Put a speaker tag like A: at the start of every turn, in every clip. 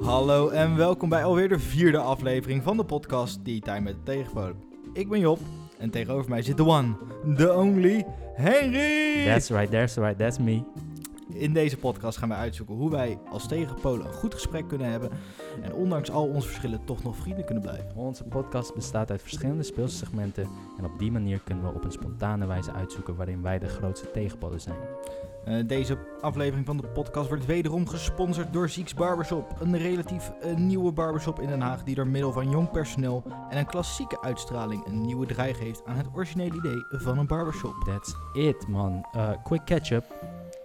A: Hallo en welkom bij alweer de vierde aflevering van de podcast Tea Time met de Tegenpolen. Ik ben Job en tegenover mij zit de one, the only, Henry!
B: That's right, that's right, that's me.
A: In deze podcast gaan wij uitzoeken hoe wij als tegenpolen een goed gesprek kunnen hebben en ondanks al onze verschillen toch nog vrienden kunnen blijven.
B: Onze podcast bestaat uit verschillende speelsegmenten en op die manier kunnen we op een spontane wijze uitzoeken waarin wij de grootste tegenpolen zijn.
A: Eh, deze aflevering van de podcast wordt wederom gesponsord door Zieks Barbershop, een relatief eh, nieuwe barbershop in Den Haag die door middel van jong personeel en een klassieke uitstraling een nieuwe draai geeft aan het originele idee van een barbershop.
B: That's it, man. Eh, quick catch-up.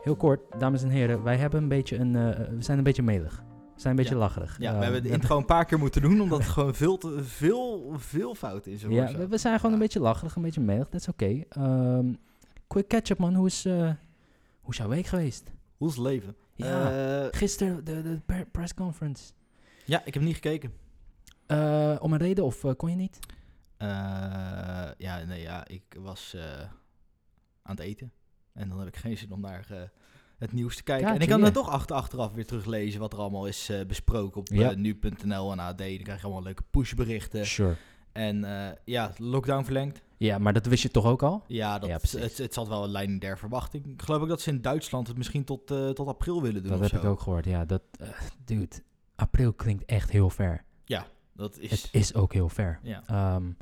B: Heel kort, dames en heren, wij hebben een beetje een, eh, we zijn een beetje melig. We zijn een beetje
A: Ja.
B: lacherig.
A: Ja,
B: Eh,
A: we hebben de intro een paar keer moeten doen, omdat het gewoon veel, te, veel, veel fout is.
B: Ja, we, we zijn gewoon een beetje lacherig, een beetje melig, that's oké. Ehm, quick catch-up, man. Hoe is, eh, hoe is jouw week geweest?
A: Hoe is het leven?
B: Ja,
A: Eh,
B: gisteren de, de per- press conference.
A: ja, ik heb niet gekeken.
B: Eh, om een reden of eh, kon je niet?
A: Eh, ja, nee, ja, ik was eh, aan het eten. En dan heb ik geen zin om naar eh, het nieuws te kijken. en ik kan
B: Kaartje
A: dan toch achter, achteraf weer teruglezen wat er allemaal is eh, besproken op eh,
B: Ja.
A: nu.nl en AD. Dan krijg je allemaal leuke pushberichten.
B: Sure.
A: En eh, ja, lockdown verlengd.
B: Ja, maar dat wist je toch ook al?
A: Ja, dat,
B: Ja, precies.
A: het, het zat wel een lijn der verwachting. Ik geloof ook dat ze in Duitsland het misschien tot, eh, tot april willen doen
B: Dat
A: of
B: heb ik
A: zo.
B: ook gehoord, ja. Dat, eh, dude, april klinkt echt heel ver.
A: Dat is...
B: Het is ook heel ver.
A: Ja,
B: Ehm,
A: er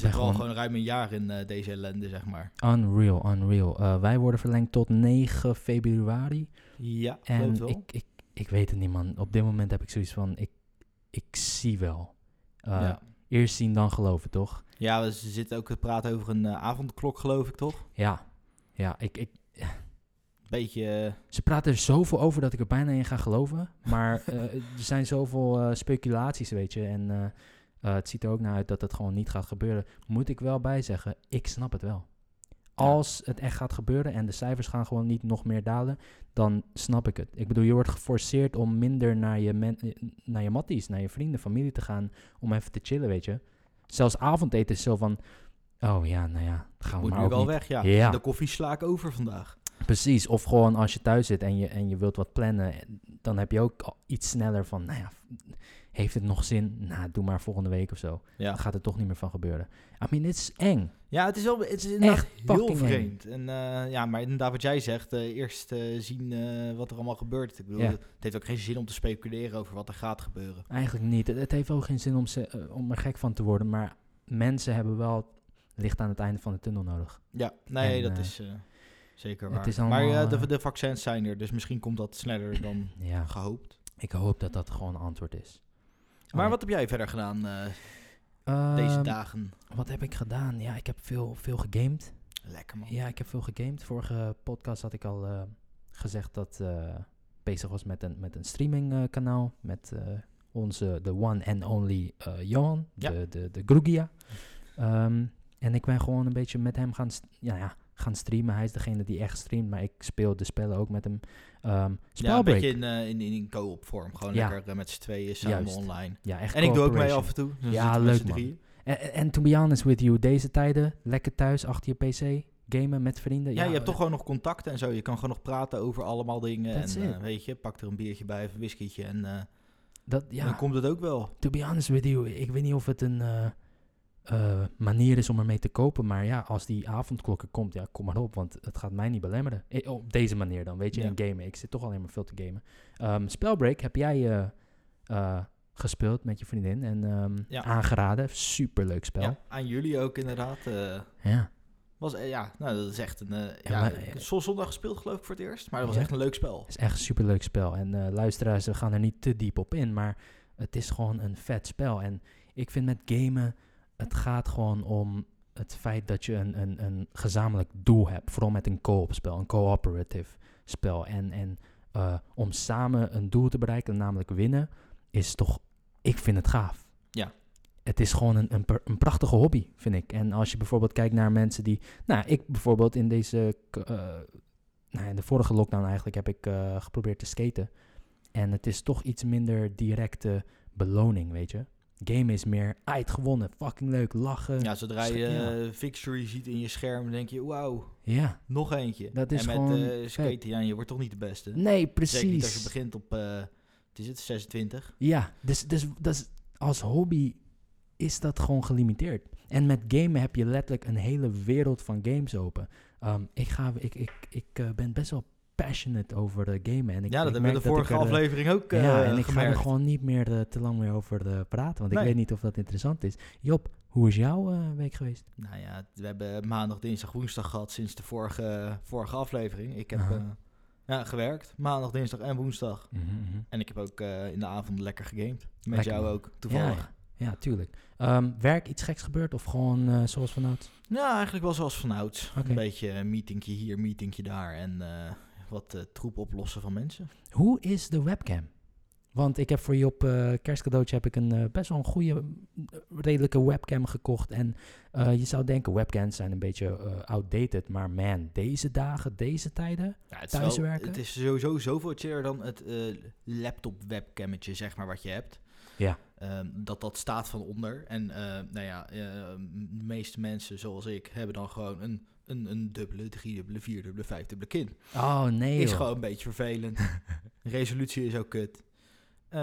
A: zit gewoon...
B: gewoon-
A: gewoon ruim een jaar in eh, deze ellende, zeg maar.
B: unreal, unreal. Eh, wij worden verlengd tot 9 februari.
A: Ja,
B: En
A: wel.
B: ik, eh, ik, ik weet het niet, man. Op dit moment heb ik zoiets van, ik, ik zie wel. Eh,
A: ja.
B: Eerst zien, dan geloven, toch?
A: ja, we ze zitten ook te praten over een eh, avondklok, geloof ik, toch?
B: Ja. Ja, ik, ik,
A: Beetje... eh,
B: ze praten er zoveel over dat ik er bijna in ga geloven. Maar eh, er zijn zoveel eh, speculaties, weet je. En eh, eh, het ziet er ook naar uit dat het gewoon niet gaat gebeuren. Moet ik wel bijzeggen, ik snap het wel. Als het echt gaat gebeuren en de cijfers gaan gewoon niet nog meer dalen, dan snap ik het. Ik bedoel, je wordt geforceerd om minder naar je, men, eh, naar je matties, naar je vrienden, familie te gaan om even te chillen, weet je. Zelfs avondeten is zo van, oh ja, nou ja, gaan we
A: moet
B: maar
A: nu
B: ook
A: wel
B: niet
A: weg, ja.
B: Ja.
A: De koffie sla ik over vandaag.
B: Precies, of gewoon als je thuis zit en je, en je wilt wat plannen, dan heb je ook al iets sneller van, nou ja, heeft het nog zin? Nou, doe maar volgende week of zo.
A: Ja.
B: Dan gaat er toch niet meer van gebeuren. I mean, dit is eng.
A: Ja, het is wel het is inderdaad heel
B: fucking eng.
A: vreemd. En, eh, ja, maar inderdaad wat jij zegt, eh, eerst eh, zien eh, wat er allemaal gebeurt. Ik bedoel,
B: Ja.
A: het heeft ook geen zin om te speculeren over wat er gaat gebeuren.
B: Eigenlijk niet. Het, het heeft ook geen zin om, ze, eh, om er gek van te worden, maar mensen hebben wel licht aan het einde van de tunnel nodig.
A: Ja, nee,
B: En,
A: dat
B: eh,
A: is eh, zeker
B: het
A: waar.
B: is
A: maar
B: allemaal,
A: eh, de,
B: eh,
A: de vaccins zijn er, dus misschien komt dat sneller dan
B: Ja,
A: gehoopt.
B: ik hoop dat dat gewoon een antwoord is.
A: Maar
B: Allee.
A: wat heb jij verder gedaan eh, deze
B: Oh. Ehm,
A: dagen?
B: Wat heb ik gedaan? Ja, ik heb veel, veel gegamed.
A: Lekker man.
B: Ja, ik heb veel gegamed. Vorige podcast had ik al eh, gezegd dat eh bezig was met een, met een streamingkanaal. met eh, onze, de one and only eh, Johan,
A: Ja.
B: de, de, de Grugia. Ehm, en ik ben gewoon een beetje met hem gaan, st- ja, ja, gaan streamen. Hij is degene die echt streamt, maar ik speel de spellen ook met hem. Ehm
A: Ja, een
B: spelbreak.
A: beetje
B: Ja,
A: in, eh, in, in, in co-op vorm. Gewoon
B: Ja.
A: lekker eh, met z'n tweeën samen
B: Juist.
A: online.
B: echt
A: En ik doe ook mee
B: cooperation.
A: af en toe. Dus
B: Ja,
A: ja,
B: leuk,
A: leuk
B: man.
A: man.
B: En, en- en to be honest with you, deze tijden, lekker thuis, achter je pc, gamen met vrienden.
A: Ja, je hebt toch gewoon nog contacten en zo. Je kan gewoon nog praten over allemaal dingen.
B: That's
A: en
B: it.
A: eh, weet je, pak er een biertje bij of een whiskietje en eh,
B: Dat, ja.
A: dan komt het ook wel.
B: to be honest with you, ik weet niet of het een eh, eh, manier is om ermee te kopen. Maar ja, als die avondklok er komt, ja, kom maar op. Want het gaat mij niet belemmeren. Eh, op deze manier dan, weet je,
A: Ja.
B: in gamen. Ik zit toch alleen maar veel te gamen. Ehm Spellbreak heb jij eh, eh, gespeeld met je vriendin en ehm,
A: Ja.
B: aangeraden. Superleuk spel.
A: Ja,
B: Ja.
A: aan jullie ook inderdaad. eh, was, eh, ja, nou, dat is echt een... eh, ja,
B: maar,
A: ik heb
B: eh,
A: zo- zondag gespeeld geloof ik voor het eerst. Maar dat was
B: Ja.
A: echt een leuk spel.
B: Het is echt een superleuk spel. En eh, luisteraars, we gaan er niet te diep op in. Maar het is gewoon een vet spel. En ik vind met gamen, het gaat gewoon om het feit dat je een, een, een gezamenlijk doel hebt. Vooral met een co-op spel, een cooperative spel. En, en eh, om samen een doel te bereiken, namelijk winnen, is toch, ik vind het gaaf.
A: Ja.
B: Het is gewoon een, een, pr- een prachtige hobby, vind ik. En als je bijvoorbeeld kijkt naar mensen die... Nou, ik bijvoorbeeld in deze k- eh, nou, in de vorige lockdown eigenlijk heb ik eh, geprobeerd te skaten. En het is toch iets minder directe beloning, weet je. Game is meer, ah, je hebt gewonnen, fucking leuk, lachen. Ja,
A: Ja, zodra
B: Sche-
A: je
B: ja.
A: eh, Victory ziet in je scherm, dan denk je, wauw, nog eentje.
B: Dat is
A: en met
B: gewoon
A: eh,
B: vet.
A: skaten, ja, je wordt toch niet de beste.
B: nee,
A: Zeker niet als je
B: precies.
A: begint op eh, Het is het 26.
B: Ja, dus, dus, dus als hobby is dat gewoon gelimiteerd. En met gamen heb je letterlijk een hele wereld van games open. Ehm, ik ga, ik, ik, ik eh, ben best wel passionate over de gamen. En ik,
A: ja, dat
B: ik
A: hebben we
B: merk
A: de
B: ik
A: vorige
B: er, eh,
A: aflevering ook eh
B: ja, en ik ga er
A: gemerkt.
B: gewoon niet meer eh, te lang meer over eh, praten, want ik
A: Nee.
B: weet niet of dat interessant is. Job, hoe is jouw eh, week geweest?
A: Nou ja, we hebben maandag, dinsdag, woensdag gehad sinds de vorige, vorige aflevering. Ik heb
B: Aha.
A: eh, ja, gewerkt, maandag, dinsdag en woensdag. En ik heb ook eh, in de avond lekker gegamed. Met
B: Lekker,
A: jou
B: man.
A: ook, toevallig. Ja,
B: Ja, tuurlijk. Ehm, werk iets geks gebeurd of gewoon eh, zoals vanouds?
A: eigenlijk wel zoals vanouds.
B: Oké.
A: Een beetje eh, meetingje hier, meetingje daar en eh, wat eh, troep oplossen van mensen.
B: Hoe is de webcam? Want ik heb voor Job eh kerstcadeautje heb ik een eh, best wel een goede, eh, redelijke webcam gekocht. En eh, je zou denken, webcams zijn een beetje eh, outdated. Maar man, deze dagen, deze tijden.
A: Ja, het, is wel,
B: Thuiswerken?
A: het is sowieso zoveel chiller dan het eh, laptop webcammetje, zeg maar, wat je hebt.
B: Ja.
A: Ehm, dat dat staat van onder. En eh, nou ja, eh, de meeste mensen zoals ik hebben dan gewoon een, een, een dubbele, driedubbele, vierdubbele, vijfdubbele kin.
B: Oh nee.
A: is
B: joh.
A: gewoon een beetje vervelend. Resolutie is ook kut. Eh,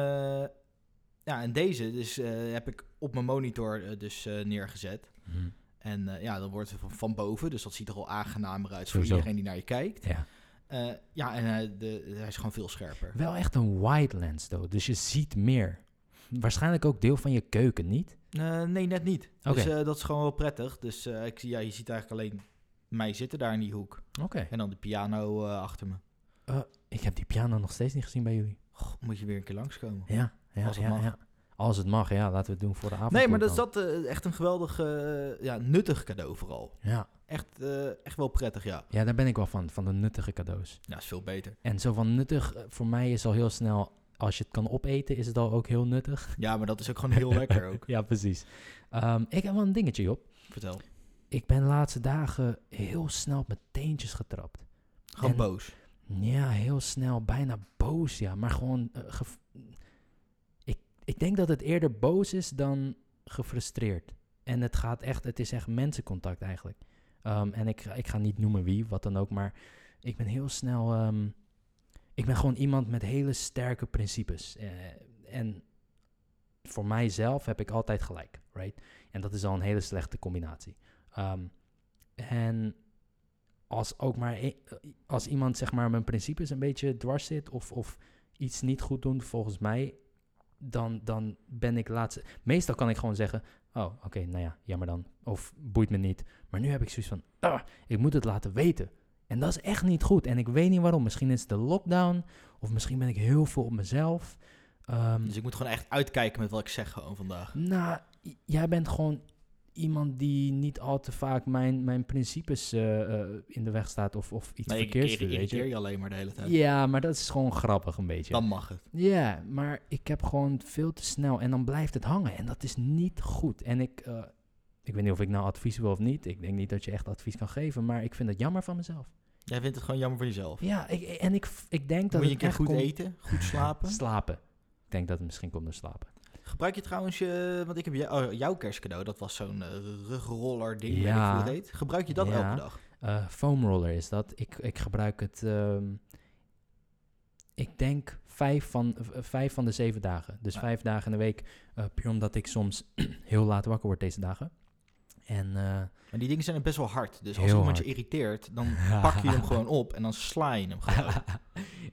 A: ja, en deze dus, eh, heb ik op mijn monitor eh, dus eh, neergezet.
B: Mhm.
A: En eh, ja, dan wordt het van, van boven, dus dat ziet er al aangenamer uit voor
B: Sowieso.
A: iedereen die naar je kijkt.
B: Ja.
A: Eh, ja, en hij, de, hij is gewoon veel scherper.
B: Wel echt een wide lens, though. Dus je ziet meer. Waarschijnlijk ook deel van je keuken, niet?
A: Eh, nee, net niet. Dus
B: Oké.
A: eh, dat is gewoon wel prettig. Dus eh, ik, zie- ja, je ziet eigenlijk alleen mij zitten daar in die hoek.
B: Oké.
A: En dan de piano eh, achter me.
B: Ik heb die piano nog steeds niet gezien bij jullie.
A: Goh, moet je weer een keer langskomen.
B: Ja, ja,
A: Als het
B: ja,
A: mag.
B: ja. Als het mag, ja. Laten we het doen voor de avond.
A: nee, maar dat is dat eh, echt een geweldig, eh, ja, nuttig cadeau vooral.
B: Ja.
A: Echt, eh, echt wel prettig, ja.
B: ja, daar ben ik wel van. Van de nuttige cadeaus.
A: Ja, is veel beter.
B: En zo van nuttig, eh, voor mij is al heel snel... Als je het kan opeten, is het al ook heel nuttig.
A: Ja, maar dat is ook gewoon heel lekker ook.
B: Ja, precies. Ehm, ik heb wel een dingetje, op.
A: Vertel.
B: Ik ben de laatste dagen heel snel op mijn teentjes getrapt.
A: Gewoon
B: En-
A: boos.
B: Ja, heel snel, bijna boos, ja. Maar gewoon. eh, gef- ik, ik denk dat het eerder boos is dan gefrustreerd. En het gaat echt, het is echt mensencontact eigenlijk. Ehm, en ik, ik ga niet noemen wie, wat dan ook, maar ik ben heel snel. ehm, ik ben gewoon iemand met hele sterke principes. Eh, en voor mijzelf heb ik altijd gelijk, right? En dat is al een hele slechte combinatie. Ehm, en als ook maar e- als iemand zeg maar mijn principes een beetje dwars zit of, of iets niet goed doet volgens mij, dan, dan ben ik laatste. Meestal kan ik gewoon zeggen, oh oké, nou ja, jammer dan. Of boeit me niet. Maar nu heb ik zoiets van, ah, ik moet het laten weten. En dat is echt niet goed. En ik weet niet waarom. Misschien is het de lockdown. Of misschien ben ik heel veel op mezelf. Ehm,
A: Dus ik moet gewoon echt uitkijken met wat ik zeg gewoon vandaag.
B: nou, j- jij bent gewoon iemand die niet al te vaak mijn, mijn principes eh, eh, in de weg staat of, of iets
A: Nee, ik
B: verkeerds
A: irri-
B: doet, weet
A: irriteer
B: je.
A: je alleen maar de hele tijd.
B: Ja, maar dat is gewoon grappig een beetje.
A: Dan mag het.
B: Ja, maar ik heb gewoon veel te snel en dan blijft het hangen en dat is niet goed. En ik, eh, ik weet niet of ik nou advies wil of niet. Ik denk niet dat je echt advies kan geven, maar ik vind het jammer van mezelf.
A: Jij vindt het gewoon jammer voor jezelf.
B: Ja, ik, en ik, ik denk dat
A: Moet je een
B: het
A: keer
B: echt
A: goed
B: komt-
A: eten, goed slapen.
B: Slapen. Ik denk dat het misschien komt door slapen.
A: Gebruik je trouwens je, want ik heb jou- oh, jouw kerstcadeau, dat was zo'n eh, rugroller ding, weet ik
B: Ja.
A: hoe het heet. Gebruik je dat
B: Ja.
A: elke dag?
B: Eh, foamroller is dat. Ik, ik gebruik het, ehm, ik denk, vijf van, v- eh, vijf van de zeven dagen. Dus
A: Ja.
B: vijf dagen in de week. eh, puur omdat ik soms heel laat wakker word deze dagen. En eh,
A: Maar die dingen zijn best wel hard, dus als
B: Heel
A: iemand je
B: hard.
A: irriteert, dan pak je hem gewoon op en dan sla je hem gewoon.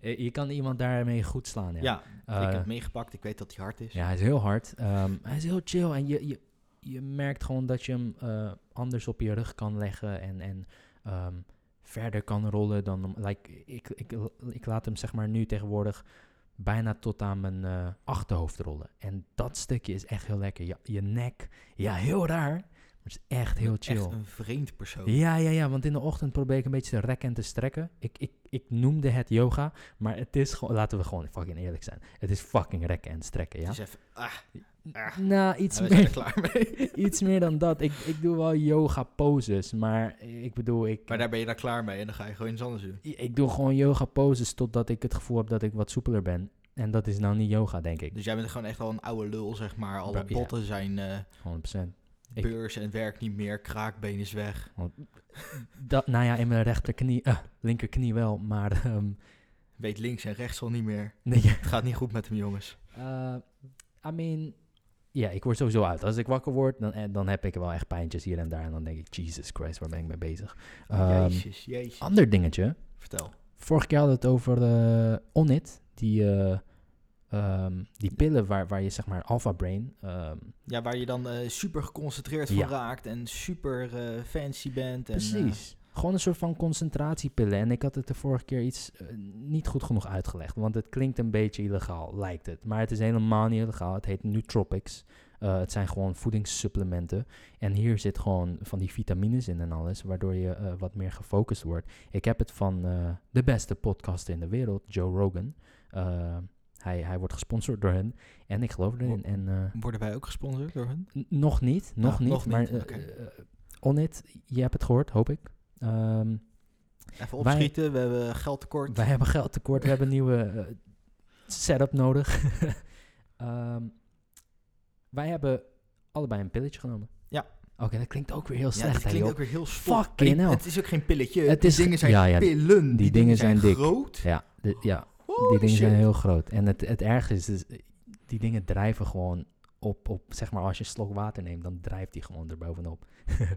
B: eh, je kan iemand daarmee goed slaan. Ja,
A: Ja, ik
B: Eh,
A: heb het meegepakt, ik weet dat hij hard is.
B: ja hij is heel hard. Ehm, hij is heel chill. En je, je, je merkt gewoon dat je hem eh, anders op je rug kan leggen. En, en ehm, verder kan rollen dan... om- Like, ik, ik, ik laat hem zeg maar nu tegenwoordig bijna tot aan mijn eh, achterhoofd rollen. En dat stukje is echt heel lekker. Je, je nek. Ja, heel raar. Maar het is echt heel chill.
A: Echt een vreemd persoon.
B: Ja, ja, ja, want in de ochtend probeer ik een beetje te rekken en te strekken. Ik, ik, ik noemde het yoga, maar het is gewoon, laten we gewoon fucking eerlijk zijn. Het is fucking rekken en strekken, ja?
A: Dus even, ah, ah,
B: Nou, iets
A: we zijn er
B: meer,
A: klaar mee.
B: iets meer dan dat. Ik, ik doe wel yoga poses, maar ik bedoel, ik,
A: Maar daar ben je dan klaar mee en dan ga je gewoon iets anders doen.
B: ik doe gewoon yoga poses totdat ik het gevoel heb dat ik wat soepeler ben. En dat is nou niet yoga, denk ik.
A: Dus jij bent gewoon echt al een oude lul, zeg maar. Alle
B: Bro, ja.
A: botten zijn eh,
B: 100%. Ik-
A: beurs en werkt niet meer, kraakbeen is weg.
B: Dat, nou ja, in mijn rechterknie, eh, linkerknie wel, maar ehm,
A: Weet links en rechts al niet meer.
B: Nee,
A: Het gaat niet goed met hem, jongens.
B: Eh, I mean, ja, ik word sowieso uit. Als ik wakker word, dan, eh, dan heb ik wel echt pijntjes hier en daar. En dan denk ik, Jesus Christ, waar ben ik mee bezig? Ehm,
A: jezus, jezus.
B: ander dingetje.
A: Vertel.
B: Vorige keer hadden we het over eh Onit. Die, eh, ehm, die pillen waar, waar je zeg maar alpha brain... ehm,
A: Ja, waar je dan eh, super geconcentreerd van
B: Ja.
A: raakt en super eh, fancy bent. En, eh,
B: precies. Gewoon een soort van concentratiepillen. En ik had het de vorige keer iets eh, niet goed genoeg uitgelegd. Want het klinkt een beetje illegaal, lijkt het. Maar het is helemaal niet illegaal. Het heet nootropics. Eh, het zijn gewoon voedingssupplementen. En hier zit gewoon van die vitamines in en alles. Waardoor je eh, wat meer gefocust wordt. Ik heb het van eh, de beste podcaster in de wereld, Joe Rogan. Eh, hij, hij wordt gesponsord door hen. En ik geloof erin. En eh,
A: worden wij ook gesponsord door hun?
B: N- Nog niet, nog
A: Ah,
B: niet.
A: nog
B: maar
A: niet,
B: eh,
A: oké.
B: eh, on it, je hebt het gehoord, hoop ik. Ehm,
A: Even
B: Wij-
A: opschieten, we hebben geldtekort.
B: wij hebben geld tekort, we hebben een nieuwe eh, setup nodig. Ehm, wij hebben allebei een pilletje genomen.
A: Ja.
B: Oké, dat klinkt ook weer heel
A: ja,
B: slecht.
A: dit
B: hè,
A: klinkt
B: joh.
A: ook weer heel stom. Maar
B: Fucking
A: die-
B: hell.
A: Het is ook geen pilletje.
B: Het
A: die
B: is-
A: dingen zijn
B: ja, ja,
A: pillen. Die,
B: dingen zijn dik.
A: groot.
B: Ja, de- ja
A: Holy
B: die dingen zijn
A: shit.
B: heel groot. En het, het ergste is, dus, eh, die dingen drijven gewoon op, op, zeg maar, als je een slok water neemt, dan drijft die gewoon erbovenop.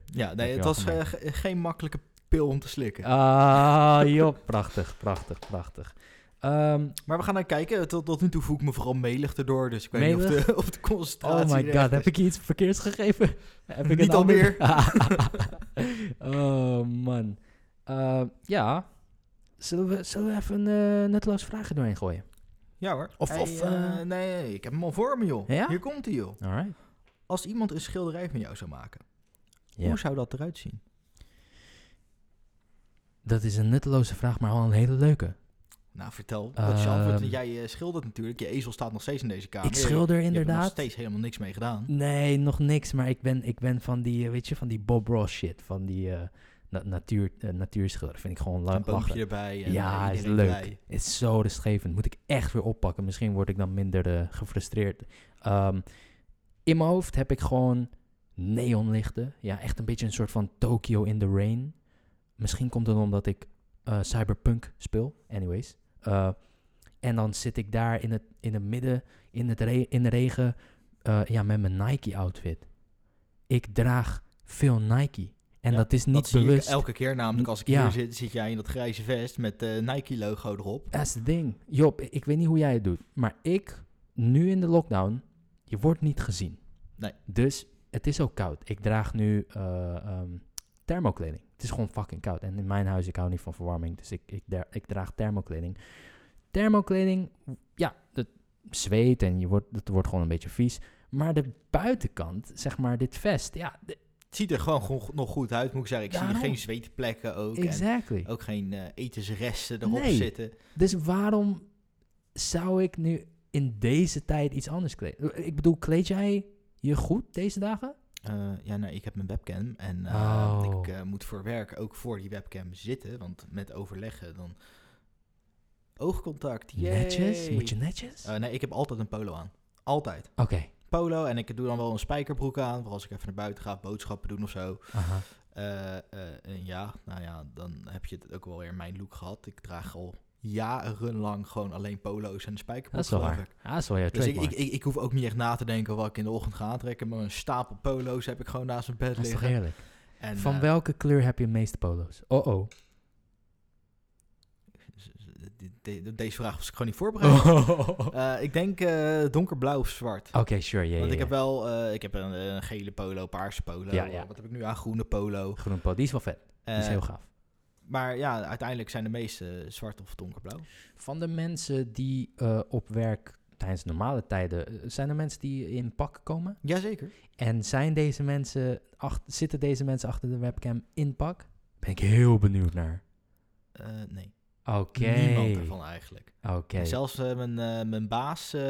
A: Ja,
B: Heb
A: nee,
B: je
A: het
B: wel
A: was
B: gemaakt.
A: eh, ge- geen makkelijke pil om te slikken.
B: Ah, joh, prachtig, prachtig, prachtig. Ehm,
A: Maar we gaan naar kijken. Tot, tot nu toe voel ik me vooral melig erdoor. Dus ik weet niet of
B: Melig?
A: de, of de
B: Oh
A: concentratie...
B: my
A: er
B: god,
A: echt
B: heb
A: is.
B: ik je iets verkeerds gegeven? heb ik
A: Niet
B: een ander-
A: alweer.
B: oh man. Eh, ja. Zullen we, zullen we even een eh nutteloos vragen doorheen gooien?
A: Ja hoor.
B: Of-
A: Hey,
B: of,
A: eh,
B: eh,
A: nee, ik heb hem al voor me, joh.
B: Ja?
A: Hier komt hij, joh.
B: Alright.
A: Als iemand een schilderij van jou zou maken,
B: Ja.
A: hoe zou dat eruit zien?
B: Dat is een nutteloze vraag, maar wel een hele leuke.
A: Nou, vertel. Wat is je antwoord? Want
B: Ehm,
A: jij eh, schildert natuurlijk. Je ezel staat nog steeds in deze kamer.
B: ik schilder
A: Je hebt er nog
B: inderdaad. Nou,
A: steeds helemaal niks mee gedaan.
B: Nee, nog niks, maar ik ben, ik ben van die, eh, weet je, van die Bob Ross shit. Van die eh, na- natuur, eh, natuurschilder. Vind ik gewoon la-
A: Een
B: lachen.
A: boompje erbij. En
B: Ja,
A: eh,
B: is
A: iedereen
B: leuk.
A: blij.
B: is zo rustgevend. Moet ik echt weer oppakken. Misschien word ik dan minder eh, gefrustreerd. Ehm, in mijn hoofd heb ik gewoon neonlichten. Ja, echt een beetje een soort van Tokyo in the rain. Misschien komt het omdat ik eh, cyberpunk speel. Anyways. Eh, en dan zit ik daar in het, in het midden, in, het re- in de regen, eh, ja, met mijn Nike-outfit. Ik draag veel Nike. En
A: Ja,
B: dat is
A: Dat
B: niet
A: zie ik
B: bewust.
A: elke keer namelijk. Als ik
B: Ja.
A: hier zit, zit jij in dat grijze vest met eh Nike-logo erop.
B: Dat is het ding. Job, ik weet niet hoe jij het doet, maar ik, nu in de lockdown, je wordt niet gezien.
A: Nee.
B: Dus het is ook koud. Ik draag nu eh, ehm, thermokleding. Het is gewoon fucking koud. En in mijn huis, ik hou niet van verwarming, dus ik, ik, dra- ik draag thermokleding. Thermokleding, ja, dat zweet en je wordt, het wordt gewoon een beetje vies. Maar de buitenkant, zeg maar, dit vest, ja, de-
A: Het ziet er gewoon go- nog goed uit, moet ik zeggen. Ik zie
B: Daarom.
A: geen zweetplekken ook. En
B: exactly.
A: ook geen eh, etensresten erop
B: Nee.
A: zitten.
B: Dus waarom zou ik nu in deze tijd iets anders kleden? Ik bedoel, kleed jij je goed deze dagen?
A: Eh, ja, nou, ik heb mijn webcam en eh,
B: Oh.
A: ik eh, moet voor werk ook voor die webcam zitten, want met overleggen dan oogcontact. Yay.
B: Netjes? Moet je netjes?
A: Eh, nee, ik heb altijd een polo aan. Altijd.
B: Oké.
A: Polo en ik doe dan wel een spijkerbroek aan, voor als ik even naar buiten ga, boodschappen doen of zo.
B: Aha.
A: Eh, eh, en ja, nou ja, dan heb je het ook wel weer mijn look gehad. Ik draag al jarenlang gewoon alleen polo's en een spijkerbroek.
B: Dat is wel
A: geloof
B: waar.
A: ik.
B: Ah, dat is wel jouw
A: Dus ik,
B: trademark.
A: ik, ik, ik hoef ook niet echt na te denken wat ik in de ochtend ga aantrekken, maar een stapel polo's heb ik gewoon naast mijn bed
B: Dat is toch
A: liggen.
B: heerlijk?
A: En,
B: Van
A: eh,
B: welke kleur heb je de meeste polo's? Oh oh.
A: z- z- de- de- deze vraag was ik gewoon niet voorbereid.
B: Oké,
A: Eh, ik denk eh, donkerblauw of zwart.
B: Oh. sure. Ja,
A: Want
B: ja,
A: ik heb
B: ja.
A: wel eh, ik heb een, een gele polo, paarse polo.
B: Ja, ja.
A: Wat heb ik nu aan? Groene polo.
B: Groen polo. Die is wel vet. Die is
A: Eh,
B: heel gaaf.
A: maar ja, uiteindelijk zijn de meeste zwart of donkerblauw.
B: Van de mensen die eh, op werk tijdens normale tijden... eh, Zijn er mensen die in pak komen?
A: Jazeker.
B: En zijn deze mensen ach- zitten deze mensen achter de webcam in pak? Ben ik heel benieuwd naar.
A: Eh, nee.
B: Oké.
A: Niemand ervan eigenlijk.
B: Oké.
A: En zelfs eh, mijn, eh, mijn baas, eh,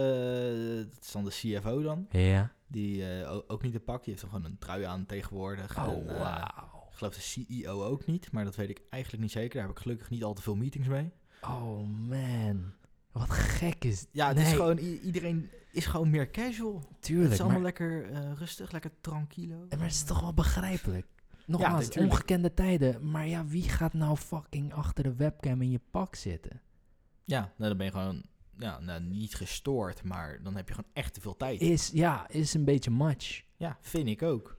A: dat is dan de CFO dan,
B: Ja.
A: die eh, o- ook niet te pak. Die heeft dan gewoon een trui aan tegenwoordig.
B: Oh,
A: En, eh,
B: wauw.
A: ik geloof de CEO ook niet, maar dat weet ik eigenlijk niet zeker. Daar heb ik gelukkig niet al te veel meetings mee.
B: Oh, man. Wat gek is...
A: Ja, het is
B: Nee,
A: gewoon, i- iedereen is gewoon meer casual. het is
B: Tuurlijk,
A: allemaal
B: maar,
A: lekker eh, rustig, lekker tranquilo.
B: maar het is toch wel begrijpelijk. Nogmaals,
A: natuurlijk.
B: ongekende tijden. Maar ja, wie gaat nou fucking achter de webcam in je pak zitten?
A: Ja, nou, dan ben je gewoon ja, nou, niet gestoord, maar dan heb je gewoon echt te veel tijd.
B: Is, ja, is een beetje much.
A: Ja, vind ik ook.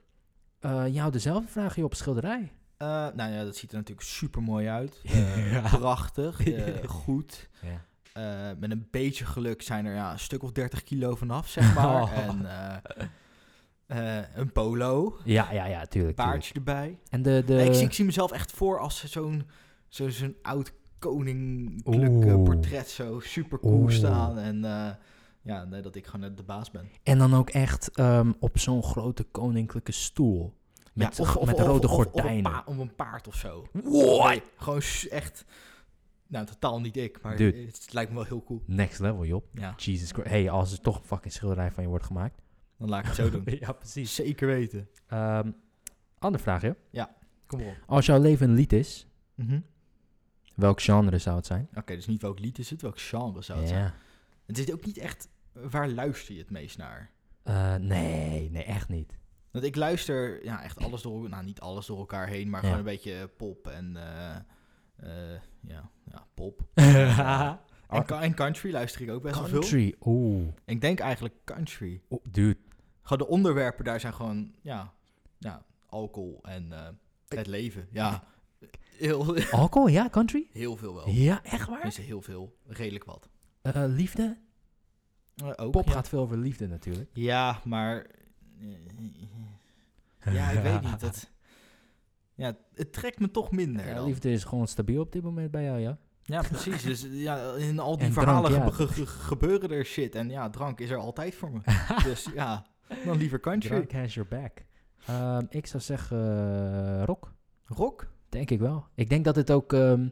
B: Eh jou dezelfde vraag hier op schilderij.
A: Eh, nou ja, dat ziet er natuurlijk super mooi uit. Eh,
B: Ja.
A: Prachtig, eh, goed.
B: Ja.
A: Eh, met een beetje geluk zijn er ja, een stuk of 30 kilo vanaf, zeg maar.
B: Oh.
A: En eh, eh, een polo,
B: Ja, ja, ja, tuurlijk. tuurlijk.
A: paardje erbij.
B: En de, de...
A: Nee, ik, zie, ik zie mezelf echt voor als zo'n zo, zo'n oud koninklijk eh,
B: Oeh.
A: portret zo super cool
B: Oeh.
A: staan. En eh, ja, nee, dat ik gewoon eh, de baas ben.
B: En dan ook echt ehm, op zo'n grote koninklijke stoel. Met,
A: ja, of- of-
B: met
A: of-
B: rode
A: of- of op een
B: gordijnen.
A: pa- op een paard of zo.
B: What?
A: Gewoon s- echt... Nou, totaal niet ik, maar
B: Dude.
A: het, het lijkt me wel heel cool.
B: Next level, joh.
A: Ja,
B: Jesus Christ. Hey, als er toch een fucking schilderij van je wordt gemaakt.
A: dan laat ik het zo doen.
B: ja, precies.
A: Zeker weten.
B: Ander andere vraag, joh.
A: Kom op.
B: Als jouw leven een lied is,
A: Mhm.
B: welk genre zou het zijn?
A: Oké, dus niet welk lied is het, welk genre zou het zijn.
B: Ja.
A: Het is ook niet echt, eh, waar luister je het meest naar?
B: Eh, nee, nee, echt niet.
A: Want ik luister ja, echt alles door, nou niet alles door elkaar heen, maar
B: Ja.
A: gewoon een beetje pop en, eh, eh, ja, ja, pop. eh, En,
B: Ar-
A: ka- en country luister ik ook best wel veel.
B: Country. Oeh.
A: Ik denk eigenlijk country.
B: Oeh, Dude.
A: Gewoon de onderwerpen daar zijn gewoon, ja, ja alcohol en eh, het leven. Ja, heel,
B: Alcohol, ja, country?
A: heel veel wel.
B: Oh. Ja, echt waar?
A: Is heel veel, redelijk wat.
B: Eh, liefde?
A: Eh, ook,
B: Pop
A: ja.
B: gaat veel over liefde natuurlijk.
A: Ja, maar. eh, Ja, ik weet niet. Dat, ja, het trekt me toch minder.
B: Ja,
A: dan.
B: liefde is gewoon stabiel op dit moment bij jou, ja?
A: Ja, precies. Dus ja, in al die
B: En
A: verhalen
B: drank, ja.
A: gebe- ge- ge- gebeuren er shit. En ja, drank is er altijd voor me. dus ja, dan liever country.
B: Drunk has your back. Ehm, ik zou zeggen eh, rock,
A: Rock?
B: denk ik wel. Ik denk dat het ook ehm,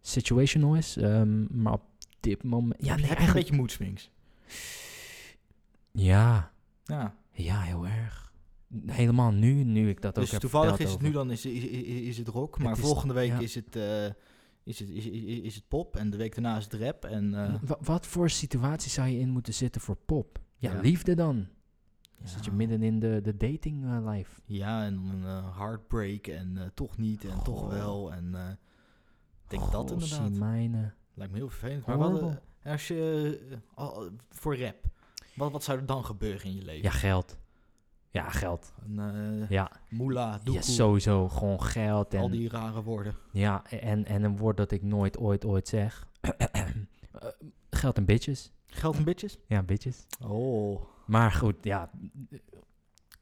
B: situational is, ehm, maar op dit moment... Ja,
A: heb je
B: nee,
A: een
B: eigenlijk...
A: beetje mood swings?
B: Ja,
A: Ja,
B: ja, heel erg. Helemaal nu, nu ik dat ook
A: dus
B: heb
A: toevallig is
B: verteld
A: het nu dan is, is, is, is het rock. Maar
B: is-
A: volgende week
B: ja.
A: is, het, eh, is, het, is, is, is het pop. En de week daarna is het rap. En eh,
B: over- Wa- Wat voor situatie zou je in moeten zitten voor pop? Ja,
A: Ja.
B: liefde dan.
A: ja.
B: Zit je midden in de, de dating eh, life.
A: Ja, en dan eh, heartbreak en eh, toch niet en toch
B: Goh.
A: wel. En eh, ik denk dat
B: Goh,
A: inderdaad.
B: Simijnen.
A: Lijkt me heel vervelend. Maar wat,
B: Horrible.
A: eh, als je eh, al- voor rap, wat, wat zou er dan gebeuren in je leven?
B: Ja, geld. Ja, geld.
A: Een, eh,
B: Ja,
A: moela, doekoe,
B: ja sowieso. Gewoon geld. En,
A: al die rare woorden.
B: Ja, e-, en, en een woord dat ik nooit, ooit, ooit zeg. Eh, geld en bitches.
A: Geld en bitches?
B: Ja, bitches.
A: Oh.
B: Maar goed, ja.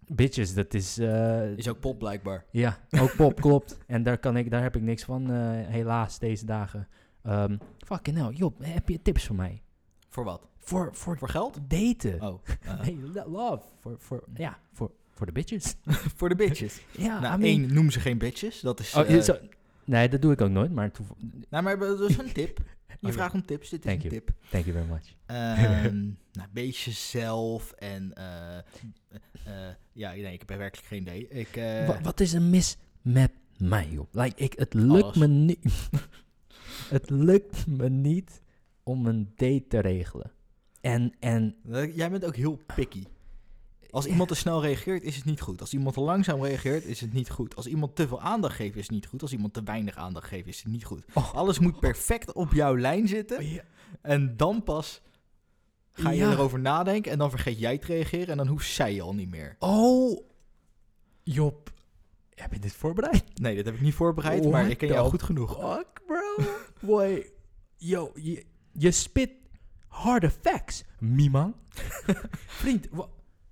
B: Bitches, dat is... eh,
A: Is ook pop blijkbaar.
B: Ja, ook pop, klopt. En daar, kan ik, daar heb ik niks van, eh, helaas, deze dagen. Ehm fucking hell, Job, heb je tips voor mij?
A: Voor wat?
B: Voor, voor
A: Voor geld?
B: daten.
A: Oh. eh,
B: Nee, lo- love. Voor, voor, ja, voor, voor de bitches.
A: voor de bitches.
B: Ja, Ah, I
A: nou,
B: mean-
A: één, noem ze geen bitches. Dat is...
B: Oh,
A: eh,
B: zo- nee, dat doe ik ook nooit, maar toev-
A: nou, maar dat is een tip. Je
B: Oké.
A: vraagt om tips, dit is
B: Oh, Thank
A: een
B: you.
A: tip.
B: thank you very much.
A: Ehm nou, wees jezelf en... eh, eh, ja, nee, ik heb er werkelijk geen idee. Ik, eh,
B: Wa- wat is er mis met mij, joh? Like, ik, het lukt
A: Alles.
B: me niet... het lukt me niet om een date te regelen. En, en...
A: eh, Jij bent ook heel picky. Als iemand te snel reageert, is het niet goed. Als iemand te langzaam reageert, is het niet goed. Als iemand te veel aandacht geeft, is het niet goed. Als iemand te weinig aandacht geeft, is het niet goed.
B: Oh.
A: Alles moet perfect op jouw lijn zitten. En dan pas ga je
B: Ja.
A: erover nadenken. En dan vergeet jij te reageren. En dan hoeft zij je al niet meer.
B: Oh, Job, heb je dit voorbereid?
A: Nee, dat heb ik niet voorbereid. maar
B: What
A: ik ken jou
B: the
A: goed genoeg.
B: Fuck, bro. Boy, yo, je, je spit harde facts, Miman. Vriend, wa-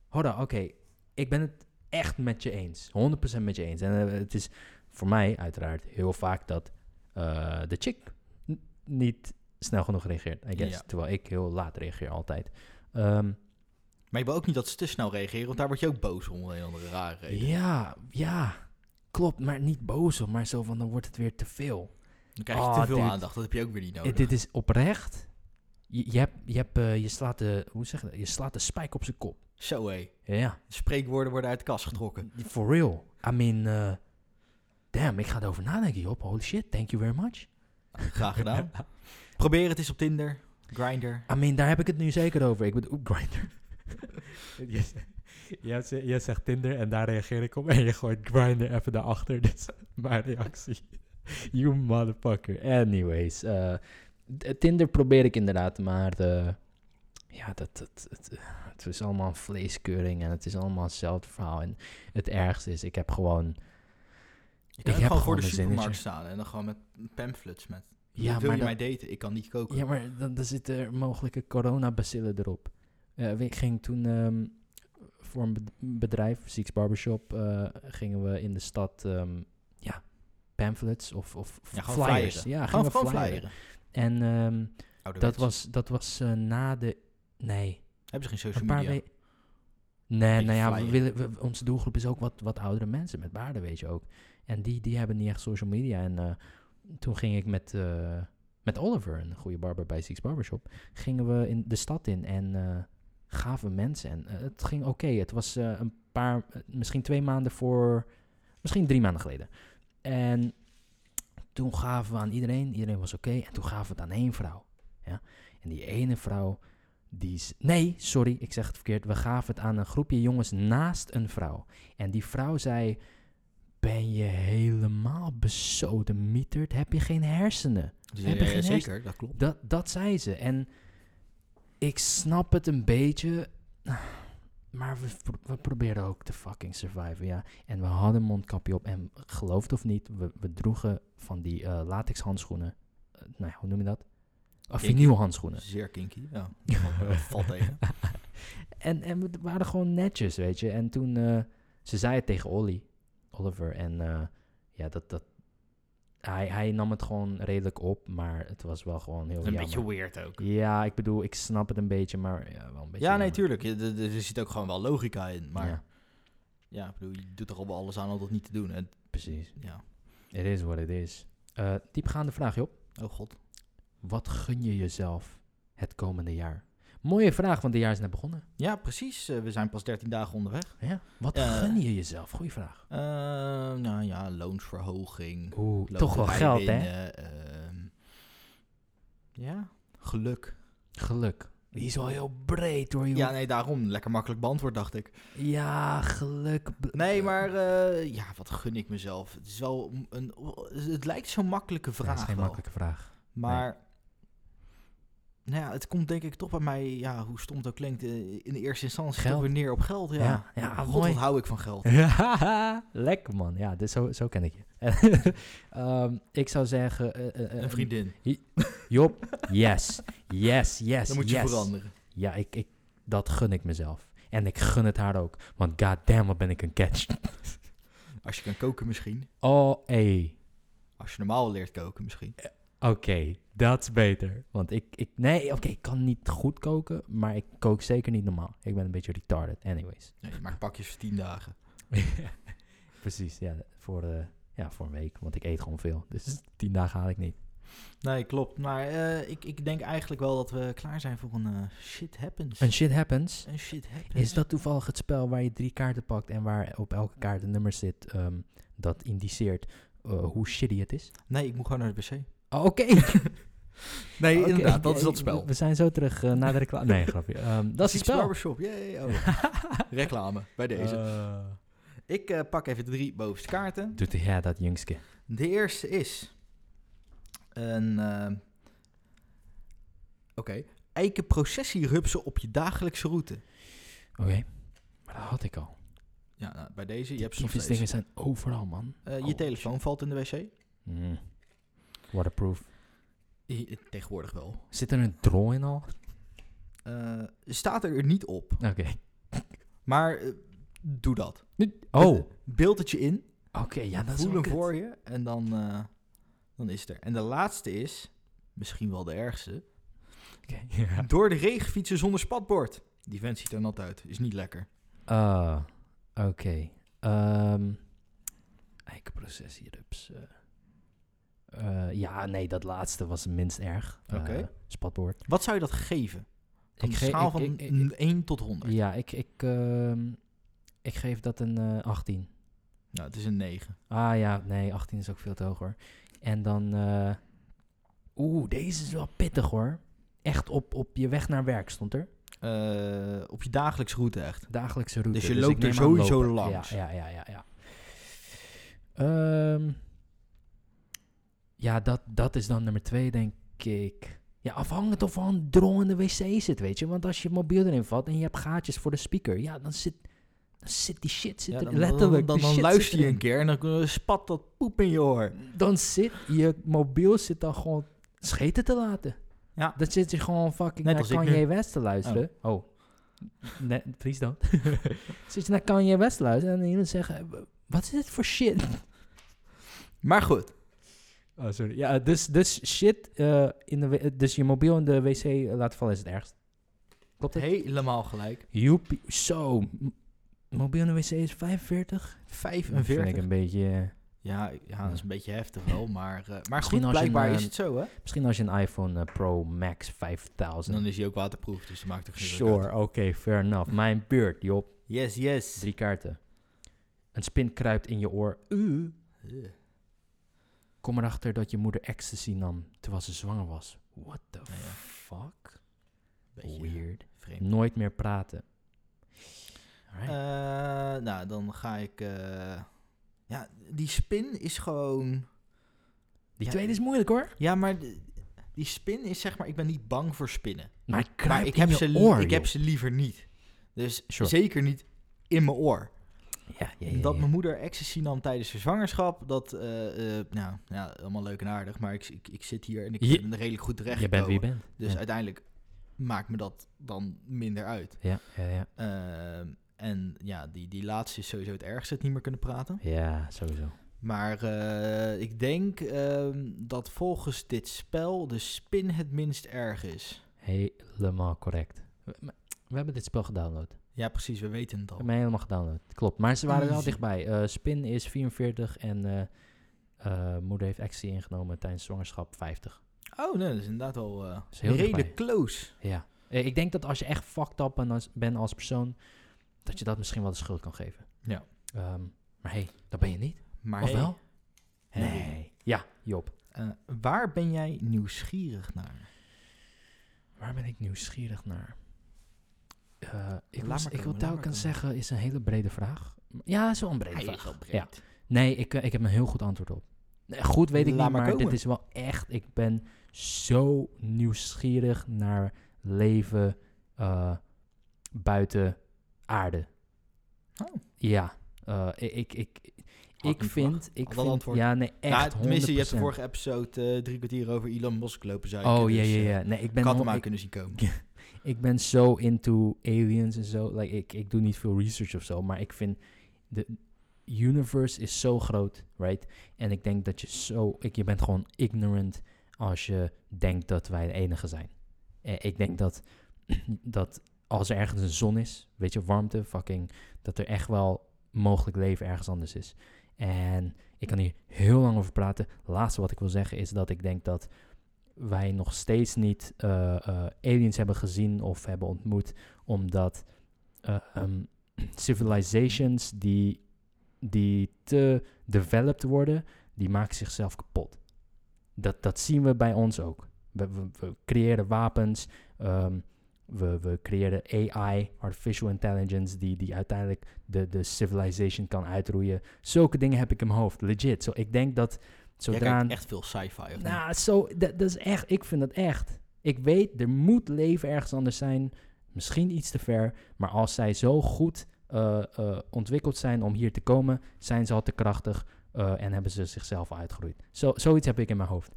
B: hold on, oké. Ik ben het echt met je eens. 100% met je eens. En eh, het is voor mij uiteraard heel vaak dat eh, de chick n- niet snel genoeg reageert, I guess.
A: Ja.
B: Terwijl ik heel laat reageer altijd. Ehm,
A: Maar je wil ook niet dat ze te snel reageren. Want daar word je ook boos om. Een andere rare reden.
B: ja, ja, klopt. Maar niet boos, op, maar zo van, dan wordt het weer te veel.
A: Dan krijg je
B: Ah,
A: te veel
B: dude.
A: aandacht. Dat heb je ook weer niet
B: Eh,
A: nodig.
B: Dit is oprecht. Je, je, hebt, je, hebt, eh, je, slaat de, hoe zeg je, dat? je slaat de spijk op zijn kop.
A: Zo hé.
B: Ja,
A: Spreekwoorden worden uit de kast getrokken.
B: for real. I mean, eh, damn, ik ga erover nadenken, Job. Holy shit, thank you very much.
A: Graag gedaan. Probeer het eens op Tinder, Grindr.
B: I mean, daar heb ik het nu zeker over. Ik bedoel, Grindr. Jij zegt Tinder en daar reageer ik op. En je gooit Grindr even daarachter. Dus mijn reactie. You motherfucker. Anyways, eh, D- Tinder probeer ik inderdaad, maar eh, ja, dat, dat, het, het is allemaal een vleeskeuring en het is allemaal hetzelfde verhaal. En het ergste is, ik heb gewoon...
A: Je kan
B: Ik
A: ook
B: heb
A: gewoon voor de
B: gewoon een
A: supermarkt
B: zinnetje.
A: staan en dan gewoon met pamphlets met.
B: Ja,
A: Wil
B: maar
A: je
B: dat-
A: mij daten? Ik kan niet koken.
B: Ja, maar dan, dan zitten er mogelijke coronabacillen erop. Eh, we- ik ging toen ehm, voor een bed- bedrijf, Six Barbershop, eh, gingen we in de stad ehm, ja, pamphlets of, of
A: Ja, gewoon
B: flyers.
A: flyeren.
B: Ja,
A: Gewoon,
B: gingen
A: Oh,
B: we
A: gewoon
B: flyeren.
A: flyeren.
B: En ehm, dat
A: Ouderwets.
B: was, dat was eh, na de... Nee,
A: Hebben ze geen social
B: een paar
A: media?
B: weken... Nee,
A: Die
B: nou ja, we
A: flyer.
B: willen, we- onze doelgroep is ook wat, wat oudere mensen met baarden, weet je ook. En die, die hebben niet echt social media. En eh, toen ging ik met, eh, met Oliver, een goede barber bij Six Barbershop, gingen we in de stad in en eh, gaven mensen. En eh, het ging oké. Het was eh, een paar, eh, misschien twee maanden voor, misschien drie maanden geleden. En toen gaven we aan iedereen, iedereen was oké. En toen gaven we het aan één vrouw. Ja? En die ene vrouw, die... is- Nee, sorry, ik zeg het verkeerd. We gaven het aan een groepje jongens naast een vrouw. En die vrouw zei... Ben je helemaal besodemieterd? Heb je geen hersenen?
A: Dus,
B: Hebben
A: eh,
B: geen
A: zeker, dat klopt.
B: Dat, dat zei ze. En ik snap het een beetje. Maar we, pro- we proberen ook te fucking surviven, ja. En we hadden een mondkapje op. En geloof het of niet, we, we droegen van die eh latex handschoenen. Eh, nou ja, hoe noem je dat? Uh,
A: Kinky.
B: vinyl handschoenen.
A: Zeer kinky, ja. Dat valt- dat valt tegen.
B: En, en we d- waren gewoon netjes, weet je. En toen, eh, ze zei het tegen Olly, Oliver. En eh, ja, dat, dat, hij, hij nam het gewoon redelijk op. Maar het was wel gewoon heel jammer.
A: weird ook.
B: Ja, ik bedoel, ik snap het een beetje, maar ja, wel een beetje.
A: Ja, nee,
B: jammer.
A: tuurlijk. Je- de- de- Er zit ook gewoon wel logica in. Maar ja,
B: Ja,
A: ik bedoel, je doet er al wel alles aan om dat niet te doen. En,
B: precies.
A: ja.
B: It is what it is. Eh, diepgaande vraag, Job.
A: Oh god.
B: Wat gun je jezelf het komende jaar? Mooie vraag, want dit jaar is net begonnen.
A: Ja, precies. eh, we zijn pas 13 dagen onderweg.
B: Ja. Wat
A: Eh.
B: gun je jezelf? Goeie vraag.
A: Eh, nou ja, loonsverhoging.
B: Oeh, toch wel
A: loterij
B: geld, hè?
A: winnen, ehm, ja, geluk.
B: Geluk. Die is wel heel breed, hoor, joh.
A: Ja,
B: Ja,
A: nee, daarom. Lekker makkelijk beantwoord, dacht ik.
B: geluk. B-
A: Nee, maar eh, ja, wat gun ik mezelf? Het is wel een... een- het lijkt zo'n makkelijke
B: Ja,
A: vraag
B: dat is geen
A: wel.
B: makkelijke eh, vraag.
A: Maar nou ja, het komt denk ik toch bij mij, ja, hoe stom het ook klinkt, eh, in de eerste instantie
B: Geld.
A: toch weer neer op geld. Ja,
B: Ja, ja,
A: God,
B: mooi.
A: wat hou ik van geld.
B: Ja, lekker man. Ja, dus zo, zo ken ik je. Ehm, ik zou zeggen... eh, eh, eh,
A: Een vriendin,
B: Job, yes. Yes, yes,
A: dan moet je
B: yes.
A: veranderen.
B: Ja, ik, ik, dat gun ik mezelf. En ik gun het haar ook. Want goddamn, wat ben ik een catch.
A: Als je kan koken misschien.
B: Oh, ey.
A: Als je normaal leert koken misschien.
B: Oké, dat is beter. Want ik, ik nee, oké, ik kan niet goed koken. Maar ik kook zeker niet normaal. Ik ben een beetje retarded, anyways.
A: Nee, je maakt pakjes voor tien dagen.
B: Precies, ja voor, eh, ja, voor een week. Want ik eet gewoon veel. Dus tien dagen haal ik niet.
A: Nee, klopt. Maar eh, ik, ik denk eigenlijk wel dat we klaar zijn voor een eh, shit happens.
B: En shit happens.
A: Een shit happens.
B: Is dat toevallig het spel waar je drie kaarten pakt en waar op elke kaart een nummer zit ehm, dat indiceert eh, hoe shitty het is?
A: Nee, ik moet gewoon naar de wc.
B: Oh, Oké,
A: Nee,
B: Oké,
A: inderdaad, dat is
B: eh,
A: dat
B: we-
A: spel.
B: We zijn zo terug eh, naar de reclame. Nee, grapje. Ehm, dat is
A: Ziek's
B: het spel. Eh.
A: Barbershop, yay. Oh. Reclame, bij deze. ik eh, pak even de drie bovenste kaarten.
B: doet hij ja, dat jongske.
A: De eerste is een. ehm, Oké. Eikenprocessierupsen op je dagelijkse route.
B: Oké, maar dat had ik al.
A: Ja, nou, bij deze. Je
B: Die
A: hebt soms
B: tyfus dingen zijn overal, man.
A: Eh, je
B: Oh,
A: telefoon valt in de wc.
B: Mm. Waterproof.
A: I- Tegenwoordig wel.
B: Zit er een drol in al?
A: Eh, staat er niet op.
B: Oké.
A: Maar eh, doe dat.
B: Nu- Oh, oké,
A: Eh, Beeld het je in.
B: ja, dat is
A: Voel hem
B: wel kut.
A: voor je. En dan, eh, dan is het er. En de laatste is. Misschien wel de ergste.
B: Oké, ja.
A: Door de regen fietsen zonder spatbord. Die vent ziet er nat uit. Is niet lekker.
B: Ah, oké. Ehm Eikenprocessierups. eh. Eh, ja, nee, dat laatste was het minst erg.
A: Oké.
B: Eh, spatwoord.
A: Wat zou je dat geven? Op een
B: ge-
A: schaal van
B: ik- ik-
A: 1 tot 100.
B: Ja, ik, ik, ehm, ik geef dat een eh, 18.
A: Nou, het is een 9.
B: Ah ja, nee, 18 is ook veel te hoog hoor. En dan, eh, oeh, deze is wel pittig hoor. Echt op, op je weg naar werk stond er.
A: Eh, op je dagelijks route echt.
B: Dagelijkse route.
A: Dus je
B: ik
A: loopt er
B: neem aan
A: sowieso
B: lopen.
A: langs.
B: Ja, ja, ja, ja. ja. Ehm, ja, dat, dat is dan nummer twee, denk ik. Ja, afhangend of er een drongende wc zit, weet je. Want als je mobiel erin vat en je hebt gaatjes voor de speaker, ja, dan zit, dan zit die shit zit
A: Ja,
B: er
A: dan, dan,
B: letterlijk.
A: dan,
B: die
A: dan
B: shit
A: luister
B: zit
A: je
B: erin.
A: een keer en dan eh, spat dat poep in je oor.
B: Dan zit je mobiel zit dan gewoon scheten te laten.
A: Ja.
B: Dan zit je gewoon fucking
A: Net
B: naar
A: als ik
B: Kanye
A: nu.
B: West te luisteren. Oh. Nee, please dan. zit je naar Kanye West te luisteren en iemand zegt, eh, wat is dit voor shit?
A: Maar goed,
B: Oh, sorry. Ja, dus, dus shit eh, in de w- eh, dus je mobiel in de wc eh, laten vallen is het ergst. Klopt het?
A: helemaal gelijk.
B: Joepie. Zo. m- Mobiel in de wc is 45? Dat vind
A: 45.
B: ik een beetje... eh,
A: Ja, ik- ja, dat is een beetje heftig wel, maar, eh, maar goed,
B: Misschien als je een,
A: blijkbaar
B: eh,
A: is het zo, hè?
B: Misschien als je een iPhone eh, Pro Max 5000...
A: Dan is hij ook waterproof, dus dat maakt er geen druk
B: sure,
A: uit.
B: oké, fair enough. Mijn beurt, Job.
A: Yes, yes.
B: Drie kaarten. Een spin kruipt in je oor. Uh.
A: Ugh.
B: Kom erachter dat je moeder ecstasy nam terwijl ze zwanger was. What the
A: Ja, ja.
B: fuck?
A: Beetje
B: Weird.
A: vreemd.
B: Nooit meer praten. Alright.
A: Eh, nou, dan ga ik... eh, ja, die spin is gewoon...
B: Die
A: ja,
B: tweede is moeilijk hoor.
A: Ja, maar de- die spin is zeg maar... Ik ben niet bang voor spinnen.
B: Maar,
A: Maar ik heb, ze, li- ik heb ze liever niet. Dus
B: Sure.
A: zeker niet in mijn oor.
B: Ja, ja,
A: Dat mijn moeder ecstasy nam tijdens haar zwangerschap, dat, eh, eh, nou, ja, allemaal leuk en aardig, maar ik, ik, ik zit hier en ik
B: Je-
A: ben er redelijk goed terecht
B: Je bent wie je bent.
A: Dus
B: ja.
A: uiteindelijk maakt me dat dan minder uit.
B: Ja, ja, ja.
A: Ehm, en ja, die, die laatste is sowieso het ergste, het niet meer kunnen praten.
B: Ja, sowieso.
A: Maar eh, ik denk ehm, dat volgens dit spel de spin het minst erg is.
B: Helemaal correct. We, maar we hebben dit spel gedownload. We
A: Ja, precies, we weten het al.
B: hebben helemaal gedownload. Klopt. Maar ze waren wel
A: Easy.
B: dichtbij. Eh, spin is 44 en eh, eh, moeder heeft actie ingenomen tijdens zwangerschap 50.
A: Oh, nee, dat is inderdaad wel eh,
B: is heel
A: redelijk
B: dichtbij.
A: close.
B: Ja. Eh, ik denk dat als je echt fucked up en als- bent als persoon, dat je dat misschien wel de schuld kan geven.
A: Ja.
B: Ehm, maar hey, dat ben je niet.
A: Maar
B: of
A: hey,
B: wel?
A: Henry,
B: Nee. Ja, Job.
A: eh, waar ben jij nieuwsgierig naar?
B: Waar ben ik nieuwsgierig naar? Eh, ik wil,
A: Laat maar
B: ik wil
A: komen, laat maar
B: telkens
A: komen.
B: zeggen, is een hele brede vraag. Ja, is wel een brede
A: Hij is
B: vraag.
A: wel
B: Ja.
A: breed.
B: Nee, ik, eh, ik heb een heel goed antwoord op. Nee, goed weet ik
A: Laat
B: niet,
A: maar
B: maar dit
A: komen.
B: is wel echt... Ik ben zo nieuwsgierig naar leven eh, buiten aarde.
A: Oh.
B: Ja, eh, ik, ik, ik,
A: Had
B: ik
A: niet
B: vind... Ik
A: Had wel
B: vind
A: antwoord.
B: Ja, nee, echt
A: nou, tenminste, je hebt de
B: 100%.
A: vorige episode eh, drie kwartier over Elon Musk lopen zeiken.
B: Oh, ja,
A: dus,
B: ja,
A: eh,
B: ja. Nee, ik ben
A: Ik had
B: hon-
A: hem aan
B: ik-
A: kunnen zien komen.
B: ik ben zo into aliens en zo. Like, ik, ik doe niet veel research of zo, maar ik vind de universe is zo groot, right? En ik denk dat je zo, ik, je bent gewoon ignorant als je denkt dat wij de enige zijn. Eh, ik denk dat, dat als er ergens een zon is, weet je, warmte, fucking, dat er echt wel mogelijk leven ergens anders is. En ik kan hier heel lang over praten. Laatste wat ik wil zeggen is dat ik denk dat wij nog steeds niet eh, eh, aliens hebben gezien of hebben ontmoet, omdat eh, ehm, civilizations die, die te developed worden, die maken zichzelf kapot. Dat, dat zien we bij ons ook. We, we, we creëren wapens, ehm, we, we creëren AI, artificial intelligence, die, die uiteindelijk de, de civilization kan uitroeien. Zulke dingen heb ik in mijn hoofd, legit. Zo, ik denk dat
A: Jij
B: zodra...
A: kijkt echt veel sci-fi. Of niet?
B: Nou, zo, dat, dat is echt, ik vind dat echt. Ik weet, er moet leven ergens anders zijn. Misschien iets te ver. Maar als zij zo goed eh, eh, ontwikkeld zijn om hier te komen, zijn ze al te krachtig. eh, en hebben ze zichzelf al uitgeroeid. Zo, zoiets heb ik in mijn hoofd.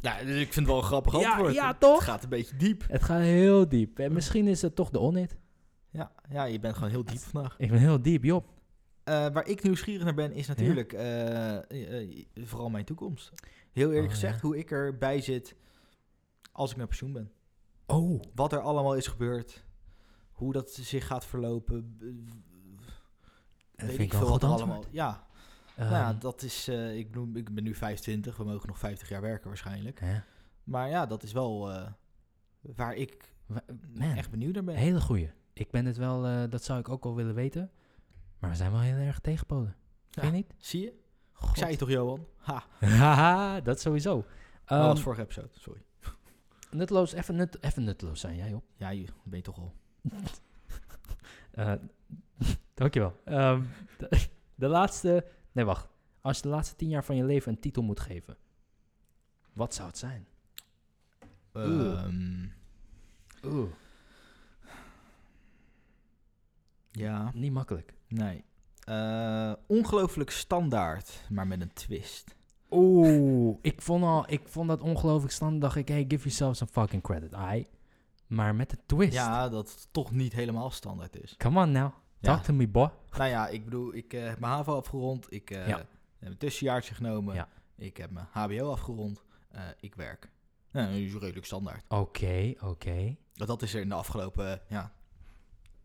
A: Ja, dus ik vind het wel een grappig
B: Ja,
A: antwoord.
B: ja,
A: Het
B: toch?
A: gaat een beetje diep.
B: Het gaat heel diep. En misschien is het toch de onit.
A: Ja, ja je bent gewoon heel diep vandaag.
B: Ik ben heel diep, Job.
A: Eh, waar ik nieuwsgierig naar ben, is natuurlijk eh, eh, eh, vooral mijn toekomst. Heel eerlijk
B: Oh,
A: gezegd,
B: ja.
A: hoe ik erbij zit als ik met pensioen ben.
B: Oh.
A: Wat er allemaal is gebeurd. Hoe dat zich gaat verlopen. b-
B: Dat
A: weet
B: vind ik
A: veel
B: wel
A: wat
B: een goed
A: er
B: antwoord.
A: allemaal. Ja,
B: Ehm,
A: nou ja, dat is... eh, ik, bedoel, ik ben nu 25, we mogen nog 50 jaar werken waarschijnlijk.
B: ja.
A: Maar ja, dat is wel eh, waar ik
B: Wa- Man,
A: echt benieuwd naar ben.
B: hele goeie. Ik ben het wel, eh, dat zou ik ook wel willen weten. Maar we zijn wel heel erg tegenpolen. Vind
A: Ja.
B: je niet?
A: Zie je? Ik
B: God.
A: zei het toch, Johan? Ha,
B: Haha, dat sowieso.
A: dat was
B: Ehm,
A: vorige episode, sorry.
B: Nutteloos, even, nut, even nutteloos zijn jij op.
A: Ja, je ben je toch al.
B: Eh, dankjewel. Ehm, de, de laatste, nee wacht. Als je de laatste tien jaar van je leven een titel moet geven, wat zou het zijn? Oeh.
A: Ehm,
B: Oeh.
A: ja,
B: Niet makkelijk.
A: nee. Eh, ongelooflijk standaard, maar met een twist.
B: Oeh, ik vond, al, ik vond dat ongelooflijk standaard. Dacht ik, hey, give yourself some fucking credit, ai. Maar met de twist.
A: Ja, dat het toch niet helemaal standaard is.
B: Come on now,
A: Ja.
B: talk to me, boy.
A: Nou ja, ik bedoel, ik eh, heb mijn HAVO afgerond. Ik eh,
B: Ja.
A: heb een tussenjaartje genomen.
B: Ja.
A: Ik heb mijn HBO afgerond. eh, ik werk. Nou, dat is redelijk standaard.
B: Oké, oké. Oh.
A: Want Dat is er in de afgelopen eh, ja,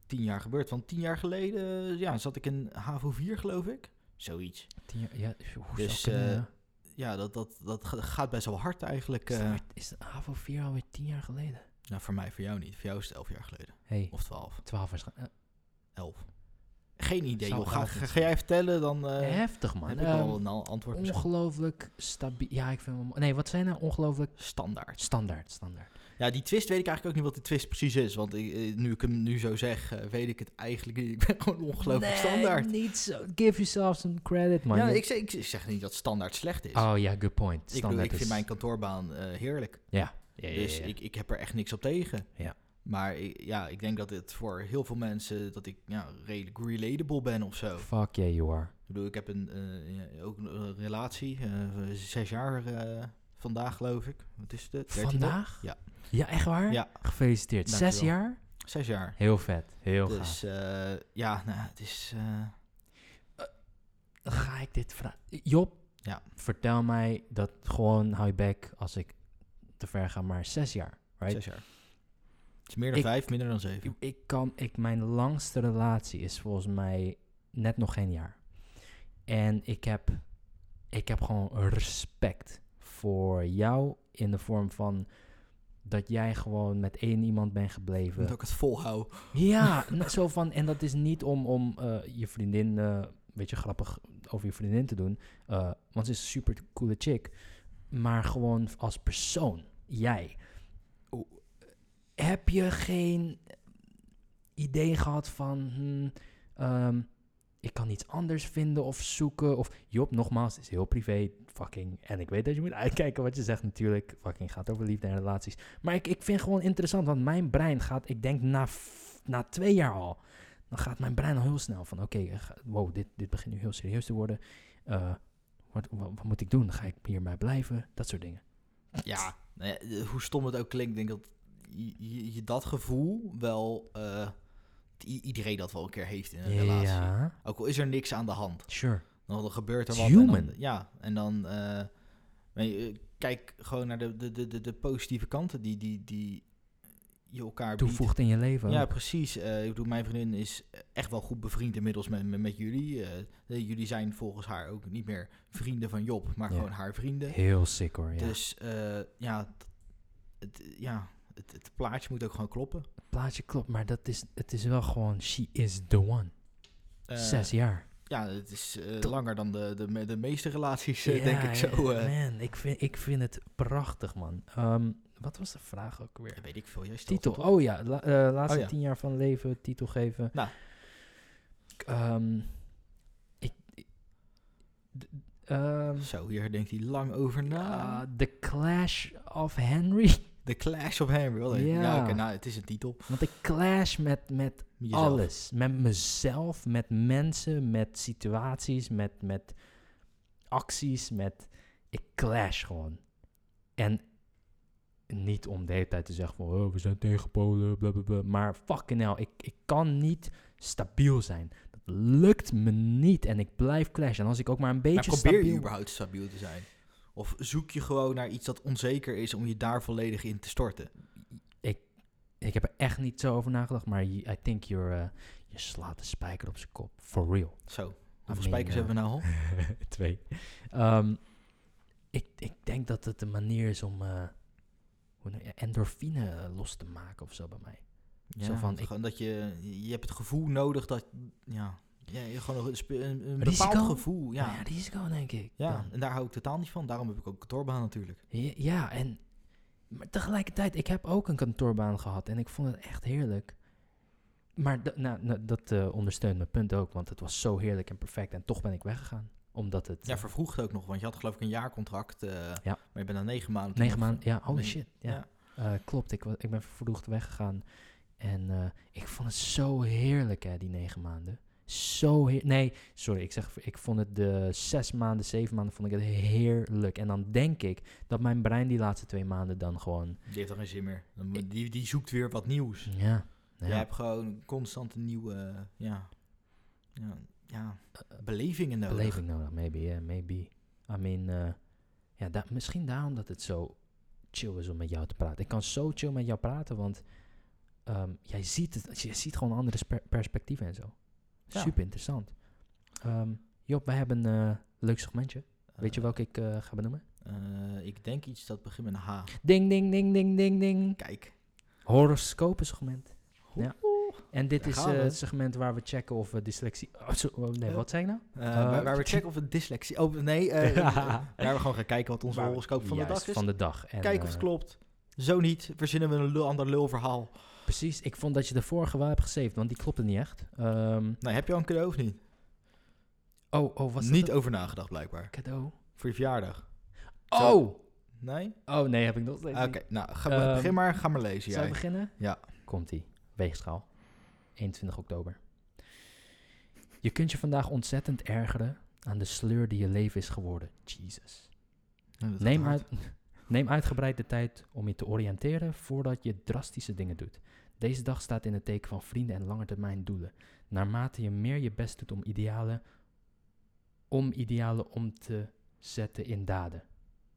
A: tien jaar gebeurd. Want tien jaar geleden eh, ja, zat ik in HAVO 4, geloof ik. Zoiets.
B: Tien jaar- Ja, hoe
A: Dus,
B: zou
A: eh,
B: kunnen, ja?
A: Ja, dat, dat, dat ga- gaat best wel hard eigenlijk.
B: Is
A: eh.
B: dat maar- is de AVO 4 alweer tien jaar geleden?
A: nou, voor mij, voor jou niet. Voor jou is het elf jaar geleden.
B: hey,
A: Of twaalf,
B: 12 waarschijnlijk.
A: Eh, elf. Geen idee,
B: Zou
A: joh. Ga,
B: elf
A: ga,
B: niet
A: ga jij vertellen, dan eh,
B: Heftig, man.
A: heb ik
B: Ehm,
A: wel een al- antwoord. misschien.
B: ongelooflijk stabiel. Ja, ik vind hem... Nee, wat zijn nou ongelooflijk...
A: Standaard.
B: Standaard, standaard.
A: Ja, die twist weet ik eigenlijk ook niet wat die twist precies is. Want ik, eh, nu ik hem nu zo zeg, eh, weet ik het eigenlijk niet. Ik ben gewoon ongelooflijk
B: nee,
A: standaard.
B: niet zo. Give yourself some credit, man.
A: Ja,
B: Je-
A: ik, zeg- ik zeg niet dat standaard slecht is.
B: Oh ja, good point.
A: ik, bedoel,
B: Standaard
A: ik vind
B: is...
A: mijn kantoorbaan eh, heerlijk.
B: Ja. Ja, ja,
A: Dus
B: ja, ja.
A: Ik, ik heb er echt niks op tegen.
B: Ja.
A: Maar ik, ja, ik denk dat het voor heel veel mensen, dat ik ja, redelijk relatable ben of zo.
B: Fuck yeah, you are.
A: Ik bedoel, ik heb een, eh, ja, ook een eh, relatie, eh, zes jaar eh, vandaag geloof ik. Wat is het? eh, 13e?
B: Vandaag?
A: Ja.
B: Ja, echt waar?
A: Ja.
B: Gefeliciteerd. Zes
A: Dankjewel.
B: jaar?
A: Zes jaar.
B: Heel vet. Heel gaaf.
A: Dus eh, ja, nou, het is... eh,
B: Ga ik dit vragen? Job,
A: Ja.
B: vertel mij dat gewoon hou je bek als ik te ver ga, maar zes jaar. Right?
A: Zes jaar. Het is meer dan
B: Ik-
A: vijf, minder dan zeven.
B: Ik- Ik kan, ik, mijn langste relatie is volgens mij net nog geen jaar. En ik heb, ik heb gewoon respect voor jou in de vorm van dat jij gewoon met één iemand bent
A: Ik
B: gebleven.
A: moet ook het volhouden.
B: Ja, n- zo van. En dat is niet om, om eh, je vriendin, eh, een beetje grappig over je vriendin te doen. eh, want ze is een super coole chick. Maar gewoon als persoon, jij. O- Heb je geen idee gehad van. hmm, ehm, ik kan iets anders vinden of zoeken. Of Job, nogmaals, het is heel privé. Fucking. En ik weet dat je moet uitkijken wat je zegt, natuurlijk. Fucking gaat over liefde en relaties. Maar ik, ik vind gewoon interessant, want mijn brein gaat, ik denk na, f- na twee jaar al, dan gaat mijn brein al heel snel van, oké, eh, ga- wow, dit, dit begint nu heel serieus te worden. Eh, wat, wat, wat moet ik doen? Ga ik hierbij blijven? Dat soort dingen.
A: Ja, nou ja, eh, hoe stom het ook klinkt, ik denk dat je- je, je dat gevoel wel... eh, i- iedereen dat wel een keer heeft in een relatie.
B: Ja,
A: Ook al is er niks aan de hand.
B: sure.
A: Dan gebeurt er
B: It's
A: wat. en dan-
B: human.
A: ja, en dan... eh, maar je, eh, kijk gewoon naar de, de, de, de- de positieve kanten die, die, die je elkaar biedt.
B: Toevoegt in je leven.
A: Ja,
B: ook.
A: precies. Eh, ik bedoel, mijn vriendin is echt wel goed bevriend inmiddels met, met, met jullie. Eh, eh, jullie zijn volgens haar ook niet meer vrienden van Job, maar
B: Ja.
A: gewoon haar vrienden.
B: Heel sick hoor, ja.
A: Dus eh, ja, t- het, ja het, het plaatje moet ook gewoon kloppen.
B: het plaatje klopt, maar dat is, het is wel gewoon, she is the one.
A: Eh,
B: Zes jaar.
A: Ja, het is eh,
B: Toch-
A: langer dan de, de, me- de meeste relaties, eh,
B: Ja,
A: denk ik zo.
B: ja,
A: eh.
B: man, ik vind, ik vind het prachtig, man. Ehm, wat was de vraag ook weer?
A: Ja, weet ik veel, jij stelt
B: Titel,
A: het op.
B: oh ja, la- eh, laatste
A: Oh ja.
B: tien jaar van leven, titel geven.
A: Nou.
B: Ehm, ik, ik- d- ehm,
A: Zo, hier denkt hij lang over na.
B: ah, The Clash of Henry.
A: The Clash of Henry, wel even. Ja,
B: Ja.
A: oké, nou, het is een titel.
B: Want ik clash met, met
A: Jezelf.
B: alles. Met mezelf, met mensen, met situaties, met, met acties, met... Ik clash gewoon. En niet om de hele tijd te zeggen van... Oh, we zijn tegen Polen, blablabla. Maar fucking hell, ik, ik kan niet stabiel zijn. Dat lukt me niet en ik blijf clashen. En als ik ook maar een beetje
A: Maar probeer je
B: stabiel-
A: überhaupt stabiel te zijn? Of zoek je gewoon naar iets dat onzeker is om je daar volledig in te storten?
B: Ik heb er echt niet zo over nagedacht, maar you- I think you're, eh, je slaat de spijker op zijn kop. For real.
A: Zo, hoeveel
B: mean,
A: spijkers
B: eh,
A: hebben we nou al?
B: Twee. Ehm, ik, ik denk dat het een manier is om eh, hoe noem je- endorfine eh, los te maken of zo bij mij. zo van,
A: dat
B: ik-
A: gewoon dat je, je hebt het gevoel nodig dat, ja, ja je gewoon een, spe- een, een bepaald
B: Risico?
A: gevoel. Ja,
B: Maar ja risico denk ik.
A: ja.
B: dan.
A: en daar hou ik totaal niet van. Daarom heb ik ook een kantoorbaan natuurlijk.
B: Ja, ja, en maar tegelijkertijd, ik heb ook een kantoorbaan gehad en ik vond het echt heerlijk. Maar d- nou, nou, dat eh, ondersteunt mijn punt ook, want het was zo heerlijk en perfect en toch ben ik weggegaan. Omdat het...
A: Ja,
B: eh,
A: vervroegd ook nog, want je had geloof ik een jaarcontract. eh,
B: Ja.
A: Maar je bent na negen maanden...
B: negen maanden... Ja, holy
A: Nee,
B: shit. Ja.
A: ja.
B: Eh, klopt, ik, wa- ik ben vervroegd weggegaan. En eh, ik vond het zo heerlijk, hè, die negen maanden. Zo heerlijk. Nee, sorry, ik zeg, ik vond het de zes maanden, zeven maanden, vond ik het heerlijk. En dan denk ik dat mijn brein die laatste twee maanden dan gewoon,
A: Die heeft er geen zin meer. Dan moet- Die, die zoekt weer wat nieuws.
B: ja. ja.
A: Jij hebt gewoon constant een nieuwe, eh, ja, ja, ja, belevingen nodig.
B: Eh, beleving nodig, maybe, yeah, maybe. I mean, eh, ja, da- misschien daarom dat het zo chill is om met jou te praten. Ik kan zo chill met jou praten, want ehm, jij ziet het, je ziet gewoon andere sper- perspectieven en zo.
A: Ja.
B: Super interessant. Ehm, Job, wij hebben een eh, leuk segmentje. Weet je
A: wel?
B: welke ik eh, ga benoemen?
A: eh, ik denk iets dat begint met een H.
B: Ding, ding, ding, ding, ding, ding.
A: Kijk.
B: Horoscopen segment. Ja. En dit
A: Daar
B: is
A: gaan
B: eh,
A: we.
B: het segment waar we checken of we dyslexie... Oh, zo- oh, nee,
A: Eh,
B: wat zei ik nou?
A: Eh, waar, waar we checken of het dyslexie... Oh, nee. eh, waar we gewoon gaan kijken wat onze
B: Waar we-
A: horoscoop van de
B: Juist,
A: dag is.
B: van de dag. En,
A: Kijken of het
B: eh,
A: klopt. Zo niet, verzinnen we een lul, ander lulverhaal.
B: Precies, ik vond dat je de vorige wel hebt gesaved, want die klopte niet echt. Ehm,
A: Nou, heb je al een cadeau of niet?
B: oh, oh, was dat
A: niet
B: een
A: over nagedacht, blijkbaar.
B: cadeau?
A: Voor je verjaardag. Zo.
B: Oh!
A: Nee?
B: Oh nee, heb ik nog steeds
A: Oké,
B: niet.
A: nou, ga maar,
B: Ehm,
A: begin maar. Ga maar lezen,
B: Zal ik
A: jij.
B: beginnen?
A: Ja.
B: Komt-ie. Weegschaal. 21 oktober. Je kunt je vandaag ontzettend ergeren aan de sleur die je leven is geworden. Jesus.
A: Ja, dat
B: Neem,
A: gaat
B: uit, neem uitgebreid de tijd om je te oriënteren voordat je drastische dingen doet. Deze dag staat in het teken van vrienden en langetermijn doelen. Naarmate je meer je best doet om idealen, om idealen om te zetten in daden,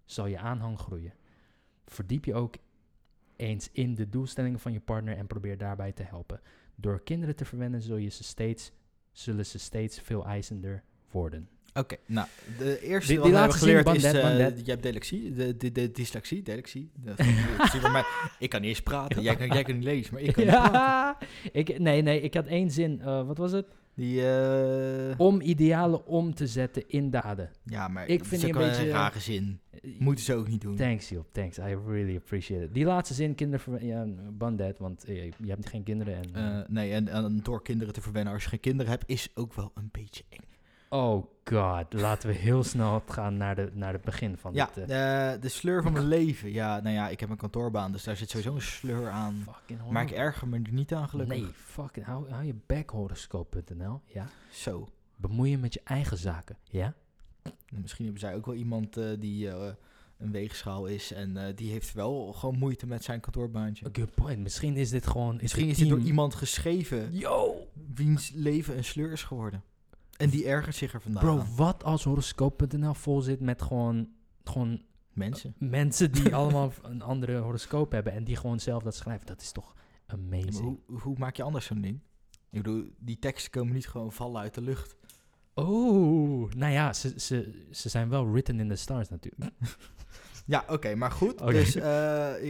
B: zal je aanhang groeien. Verdiep je ook eens in de doelstellingen van je partner en probeer daarbij te helpen. Door kinderen te verwennen zul je ze steeds, zullen ze steeds veel eisender worden.
A: Oké, nou, de eerste
B: Die-
A: wat
B: die
A: we hebben
B: laatste zin,
A: geleerd
B: one
A: is...
B: dead,
A: eh,
B: one dead.
A: je hebt dyslexie, de, de, de, dyslexie, dyslexie. De- het is bij mij- ik kan niet eens praten. Jij, kan- jij kan niet lezen, maar ik kan niet praten.
B: Ja, ik, nee, nee, ik had één zin. Eh, wat was het?
A: Die, eh,
B: Om idealen om te zetten in daden.
A: ja, maar
B: ik
A: dat
B: vind
A: is
B: die
A: ook
B: een
A: wel
B: beetje-
A: rare zin. Moeten ze ook niet doen.
B: Thanks, Job. Thanks. I really appreciate it. Die laatste zin, kinderen... Ja, ban that, want eh, je hebt geen kinderen. En,
A: Eh, nee, en, en door kinderen te verwennen als je geen kinderen hebt, is ook wel een beetje eng.
B: oh god, laten we heel snel gaan naar, de, naar het begin van
A: Ja,
B: dit... eh,
A: eh, de sleur van mijn leven. Ja, nou ja, ik heb een kantoorbaan, dus daar zit sowieso een sleur aan.
B: fucking
A: Maar ik
B: hor-
A: erger me er niet aan, gelukkig.
B: Nee, fucking... Hou, hou je bek, horoscoop.nl. Ja?
A: Zo.
B: Bemoei je met je eigen zaken. Ja?
A: Nou, Misschien hebben zij ook wel iemand eh, die eh, een weegschaal is en eh, die heeft wel gewoon moeite met zijn kantoorbaantje.
B: Good point. Misschien is dit gewoon...
A: Misschien is dit
B: het
A: door iemand geschreven
B: Yo!
A: wiens leven een sleur is geworden. En die ergert zich er vandaag
B: Bro,
A: aan.
B: wat als horoscoop.nl vol zit met gewoon, gewoon
A: Mensen.
B: mensen die allemaal een andere horoscoop hebben en die gewoon zelf dat schrijven? Dat is toch
A: Ja, maar
B: amazing.
A: hoe, hoe maak je anders zo'n ding? Ik bedoel, die teksten komen niet gewoon vallen uit de lucht.
B: Oh, nou ja, ze, ze, ze zijn wel written in the stars natuurlijk.
A: Ja, oké, maar goed.
B: Oké.
A: Dus eh,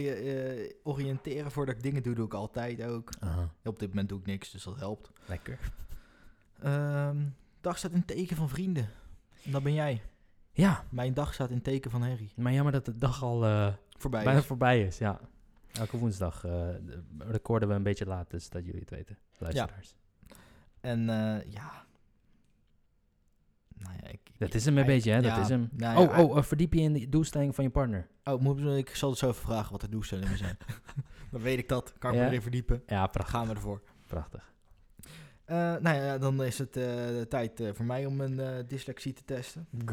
A: je- eh, oriënteren voordat ik dingen doe, doe ik altijd ook. Op dit moment doe ik niks, dus dat helpt.
B: Lekker.
A: Ehm, dag staat in teken van vrienden. En dat ben jij.
B: Ja,
A: Mijn dag staat in teken van Harry.
B: maar jammer dat de dag al eh,
A: Voorbij
B: bijna
A: is.
B: voorbij is. Ja. Elke woensdag eh, de- recorden we een beetje laat, dus dat jullie het weten, luisteraars.
A: En eh, ja. Nou ja, ik...
B: Dat is hem een
A: Hij-
B: beetje, hè? Dat
A: ja,
B: is hem.
A: nou ja,
B: oh, oh eh, verdiep je in de doelstelling van je partner.
A: oh, moet, ik zal het zo even vragen wat de doelstellingen zijn. dan weet ik dat. Kan ik
B: Ja?
A: me erin verdiepen.
B: Ja, prachtig.
A: Gaan we ervoor.
B: prachtig.
A: Eh, nou ja, dan is het eh, de tijd eh, voor mij om mijn eh, dyslexie te testen.
B: Ik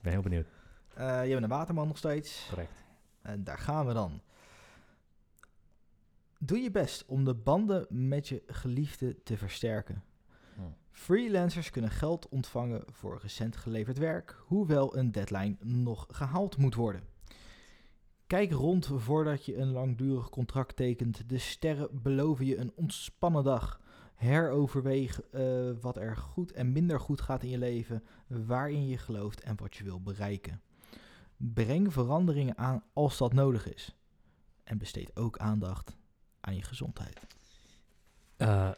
B: ben heel benieuwd.
A: Eh, je bent een waterman nog steeds.
B: Correct.
A: En daar gaan we dan. Doe je best om de banden met je geliefde te versterken.
B: Hmm.
A: Freelancers kunnen geld ontvangen voor recent geleverd werk, hoewel een deadline nog gehaald moet worden. Kijk rond voordat je een langdurig contract tekent. De sterren beloven je een ontspannen dag. Heroverweeg eh, wat er goed en minder goed gaat in je leven, waarin je gelooft en wat je wil bereiken. Breng veranderingen aan als dat nodig is. En besteed ook aandacht aan je gezondheid.
B: Eh,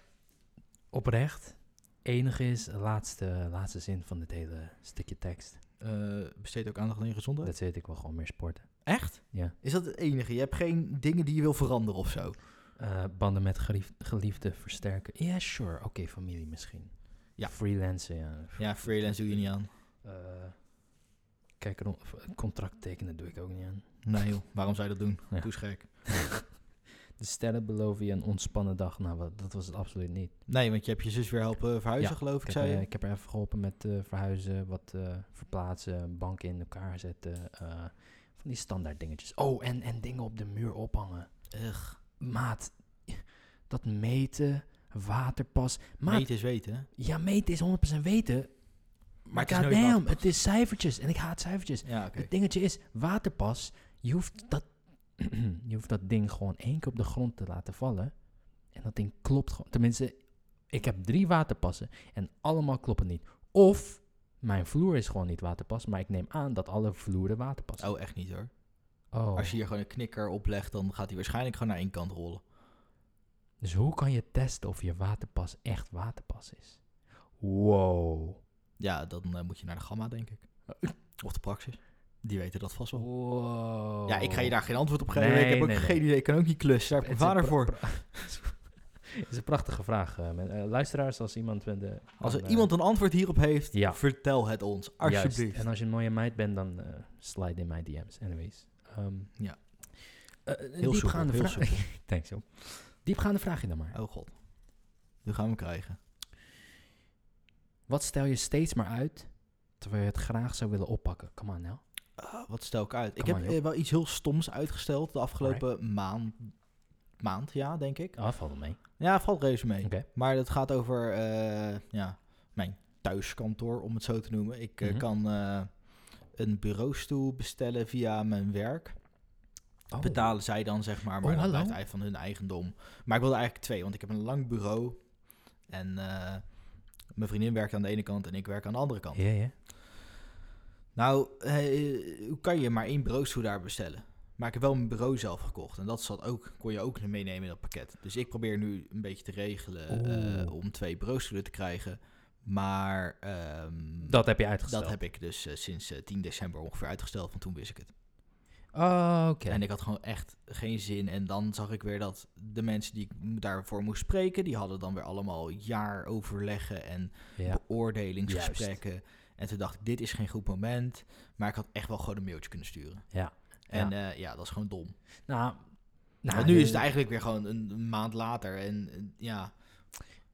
B: oprecht. Enige is de laatste, laatste zin van dit hele stukje tekst.
A: Eh, besteed ook aandacht aan je gezondheid?
B: Dat weet ik wel gewoon meer sporten.
A: Echt?
B: Ja.
A: Is dat het enige? Je hebt geen dingen die je wil veranderen of zo?
B: Eh, banden met gelief- geliefden versterken. Ja, sure. Oké, familie misschien.
A: Ja.
B: Freelancen, ja.
A: Ja, freelance doe je niet aan.
B: Eh, kijk, rond- of, eh, contract tekenen doe ik ook niet aan.
A: Nee joh, waarom zou je dat doen?
B: Ja.
A: Doe eens gek.
B: De sterren beloven je een ontspannen dag. Nou, wat- dat was het absoluut niet.
A: Nee, want je hebt je zus weer helpen verhuizen,
B: Ja,
A: geloof
B: Ik
A: ik,
B: heb,
A: zei
B: eh,
A: je.
B: ik heb er even geholpen met eh, verhuizen, wat eh, verplaatsen, banken in elkaar zetten. eh, van die standaard dingetjes. Oh, en, en dingen op de muur ophangen. Ugh. Maat, dat meten, waterpas. Maat,
A: Meten is weten, hè?
B: ja, meten is 100% weten.
A: Maar
B: Maar
A: het is nooit
B: goddamn,
A: waterpas.
B: het is cijfertjes. En ik haat cijfertjes.
A: Ja, oké.
B: Het dingetje is, waterpas, je hoeft, dat, je hoeft dat ding gewoon één keer op de grond te laten vallen. En dat ding klopt gewoon. Tenminste, ik heb drie waterpassen en allemaal kloppen niet. Of mijn vloer is gewoon niet waterpas, maar ik neem aan dat alle vloeren waterpas.
A: Oh, echt niet hoor.
B: Oh,
A: Als je hier gewoon een knikker oplegt, dan gaat hij waarschijnlijk gewoon naar één kant rollen.
B: Dus hoe kan je testen of je waterpas echt waterpas is? Wow.
A: Ja, dan eh, moet je naar de gamma, denk ik. Of de praxis. Die weten dat vast wel.
B: wow.
A: Ja, ik ga je daar geen antwoord op geven.
B: Oh. Nee,
A: ik heb ook
B: nee, nee.
A: geen idee. Ik kan ook niet klussen. Daar heb ik
B: Het
A: mijn
B: is
A: vader
B: een
A: voor.
B: pra- pra- Het is een prachtige vraag. eh, men- eh, luisteraars, als iemand... met de-
A: Als er
B: kan, eh,
A: iemand een antwoord hierop heeft,
B: Ja.
A: vertel het ons.
B: Juist.
A: Alsjeblieft.
B: En als je een mooie meid bent, dan eh, slide in mijn DM's. Anyways. Ehm,
A: Ja.
B: eh, een
A: soepel,
B: diepgaande
A: heel
B: vraag. Thanks, joh. Diepgaande vraagje dan maar.
A: Oh god. Nu gaan we hem krijgen.
B: Wat stel je steeds maar uit, terwijl je het graag zou willen oppakken? Come on, nou.
A: Ah, wat stel ik uit? Ik
B: Kom
A: heb
B: maar, joh.
A: eh, wel iets heel stoms uitgesteld de afgelopen maand. Maand, ja, denk ik.
B: Ah, valt wel mee.
A: Ja, valt reuze mee.
B: Oké.
A: Maar dat gaat over eh, ja, mijn thuiskantoor, om het zo te noemen. Ik eh,
B: Mhm.
A: kan eh, een bureaustoel bestellen via mijn werk.
B: Oh.
A: Betalen zij dan, zeg maar, maar
B: Oh,
A: dat
B: hallo.
A: blijft eigenlijk van hun eigendom. Maar ik wilde eigenlijk twee, want ik heb een lang bureau. En eh, mijn vriendin werkt aan de ene kant en ik werk aan de andere kant.
B: Ja, ja.
A: Nou, eh, hoe kan je maar één bureaustoel daar bestellen? Maar ik heb wel mijn bureau zelf gekocht. En dat zat ook, kon je ook meenemen in dat pakket. Dus ik probeer nu een beetje te regelen eh,
B: Oeh.
A: om twee bureaustoelen te krijgen. Maar ehm,
B: Dat heb je
A: dat
B: uitgesteld.
A: heb ik dus eh, sinds eh, 10 december ongeveer uitgesteld. Want toen wist ik het.
B: Oh, oké.
A: En ik had gewoon echt geen zin. En dan zag ik weer dat de mensen die ik daarvoor moest spreken... die hadden dan weer allemaal jaaroverleggen en
B: Ja.
A: beoordelingsgesprekken. En toen dacht ik, dit is geen goed moment. Maar ik had echt wel gewoon een mailtje kunnen sturen.
B: Ja.
A: En eh, ja, dat is gewoon dom.
B: Nou, nou,
A: Want nu
B: eh,
A: is het eigenlijk weer gewoon een, een maand later. En eh, ja,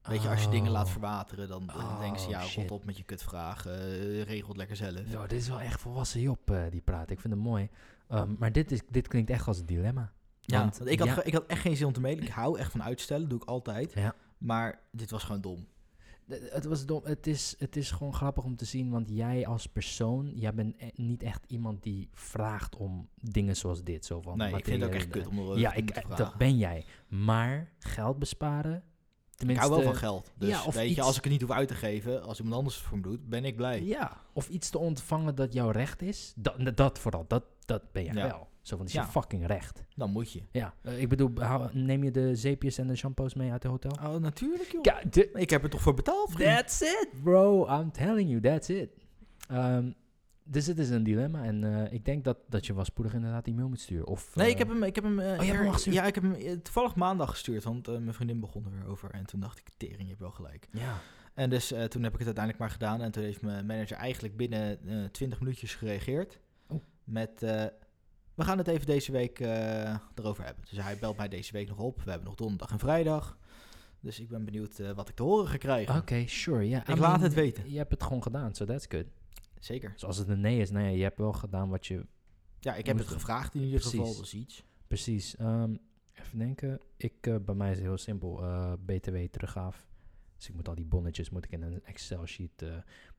A: weet je, als je dingen laat
B: oh.
A: verwateren, dan, dan denken ze,
B: Oh,
A: ja,
B: shit.
A: rot op met je kutvragen. eh, regel het lekker zelf.
B: Zo, dit is wel echt volwassen Job eh, die praat. Ik vind hem mooi. Ehm, maar dit, is, dit klinkt echt als een dilemma.
A: Ja,
B: want-
A: want, ik, had,
B: ja.
A: ge- ik had echt geen zin om te mailen. Ik hou echt van uitstellen, doe ik altijd.
B: Ja.
A: Maar dit was gewoon dom.
B: D- Het, was dom. Het, is, het is gewoon grappig om te zien, want jij als persoon, jij bent e- niet echt iemand die vraagt om dingen zoals dit. Zo van
A: nee, ik vind het ook echt kut
B: materiële-
A: om erover
B: Ja,
A: te
B: ik,
A: moeten
B: eh, dat
A: vragen.
B: ben jij. Maar geld besparen,
A: Ik
B: tenminste...
A: hou wel van geld. Dus
B: ja, of
A: weet
B: iets-
A: je, als ik het niet hoef uit te geven, als iemand anders het voor me doet, ben ik blij.
B: Ja, of iets te ontvangen dat jouw recht is. Dat, dat vooral, dat, dat ben jij
A: Ja.
B: wel. Zo van, het is
A: Ja.
B: je fucking recht.
A: Dan moet je.
B: Ja, eh, ik bedoel, hou- neem je de zeepjes en de shampoos mee uit het hotel?
A: Oh, natuurlijk joh.
B: Ja, de,
A: Ik heb er toch voor betaald? vriend?
B: That's it, bro. I'm telling you, that's it. Ehm, dus het is een dilemma. En eh, ik denk dat, dat je wel spoedig inderdaad die mail moet sturen. Of,
A: Nee,
B: eh,
A: ik heb hem. Ik heb hem eh,
B: hebt hem
A: eer-
B: al gestuurd?
A: Ja, ik heb hem eh, toevallig maandag gestuurd, want eh, mijn vriendin begon er weer over. En toen dacht ik, tering, je hebt wel gelijk.
B: Ja.
A: En dus eh, toen heb ik het uiteindelijk maar gedaan. En toen heeft mijn manager eigenlijk binnen eh 20 minuutjes gereageerd.
B: Oh.
A: Met, eh, we gaan het even deze week eh, erover hebben. Dus hij belt mij deze week nog op. We hebben nog donderdag en vrijdag. Dus ik ben benieuwd eh, wat ik te horen ga krijgen.
B: Oké, sure. Ja,
A: Ik laat het weten.
B: Je hebt het gewoon gedaan, so that's good.
A: Zeker.
B: Dus als het een nee is, nee, je hebt wel gedaan wat je...
A: Ja, ik
B: Moet
A: heb het
B: doen.
A: gevraagd in ieder geval.
B: Precies.
A: Dus iets.
B: Precies. Ehm, even denken. Ik, eh, bij mij is het heel simpel. eh, BTW teruggaaf. Dus ik moet al die bonnetjes moet ik in een Excel-sheet eh,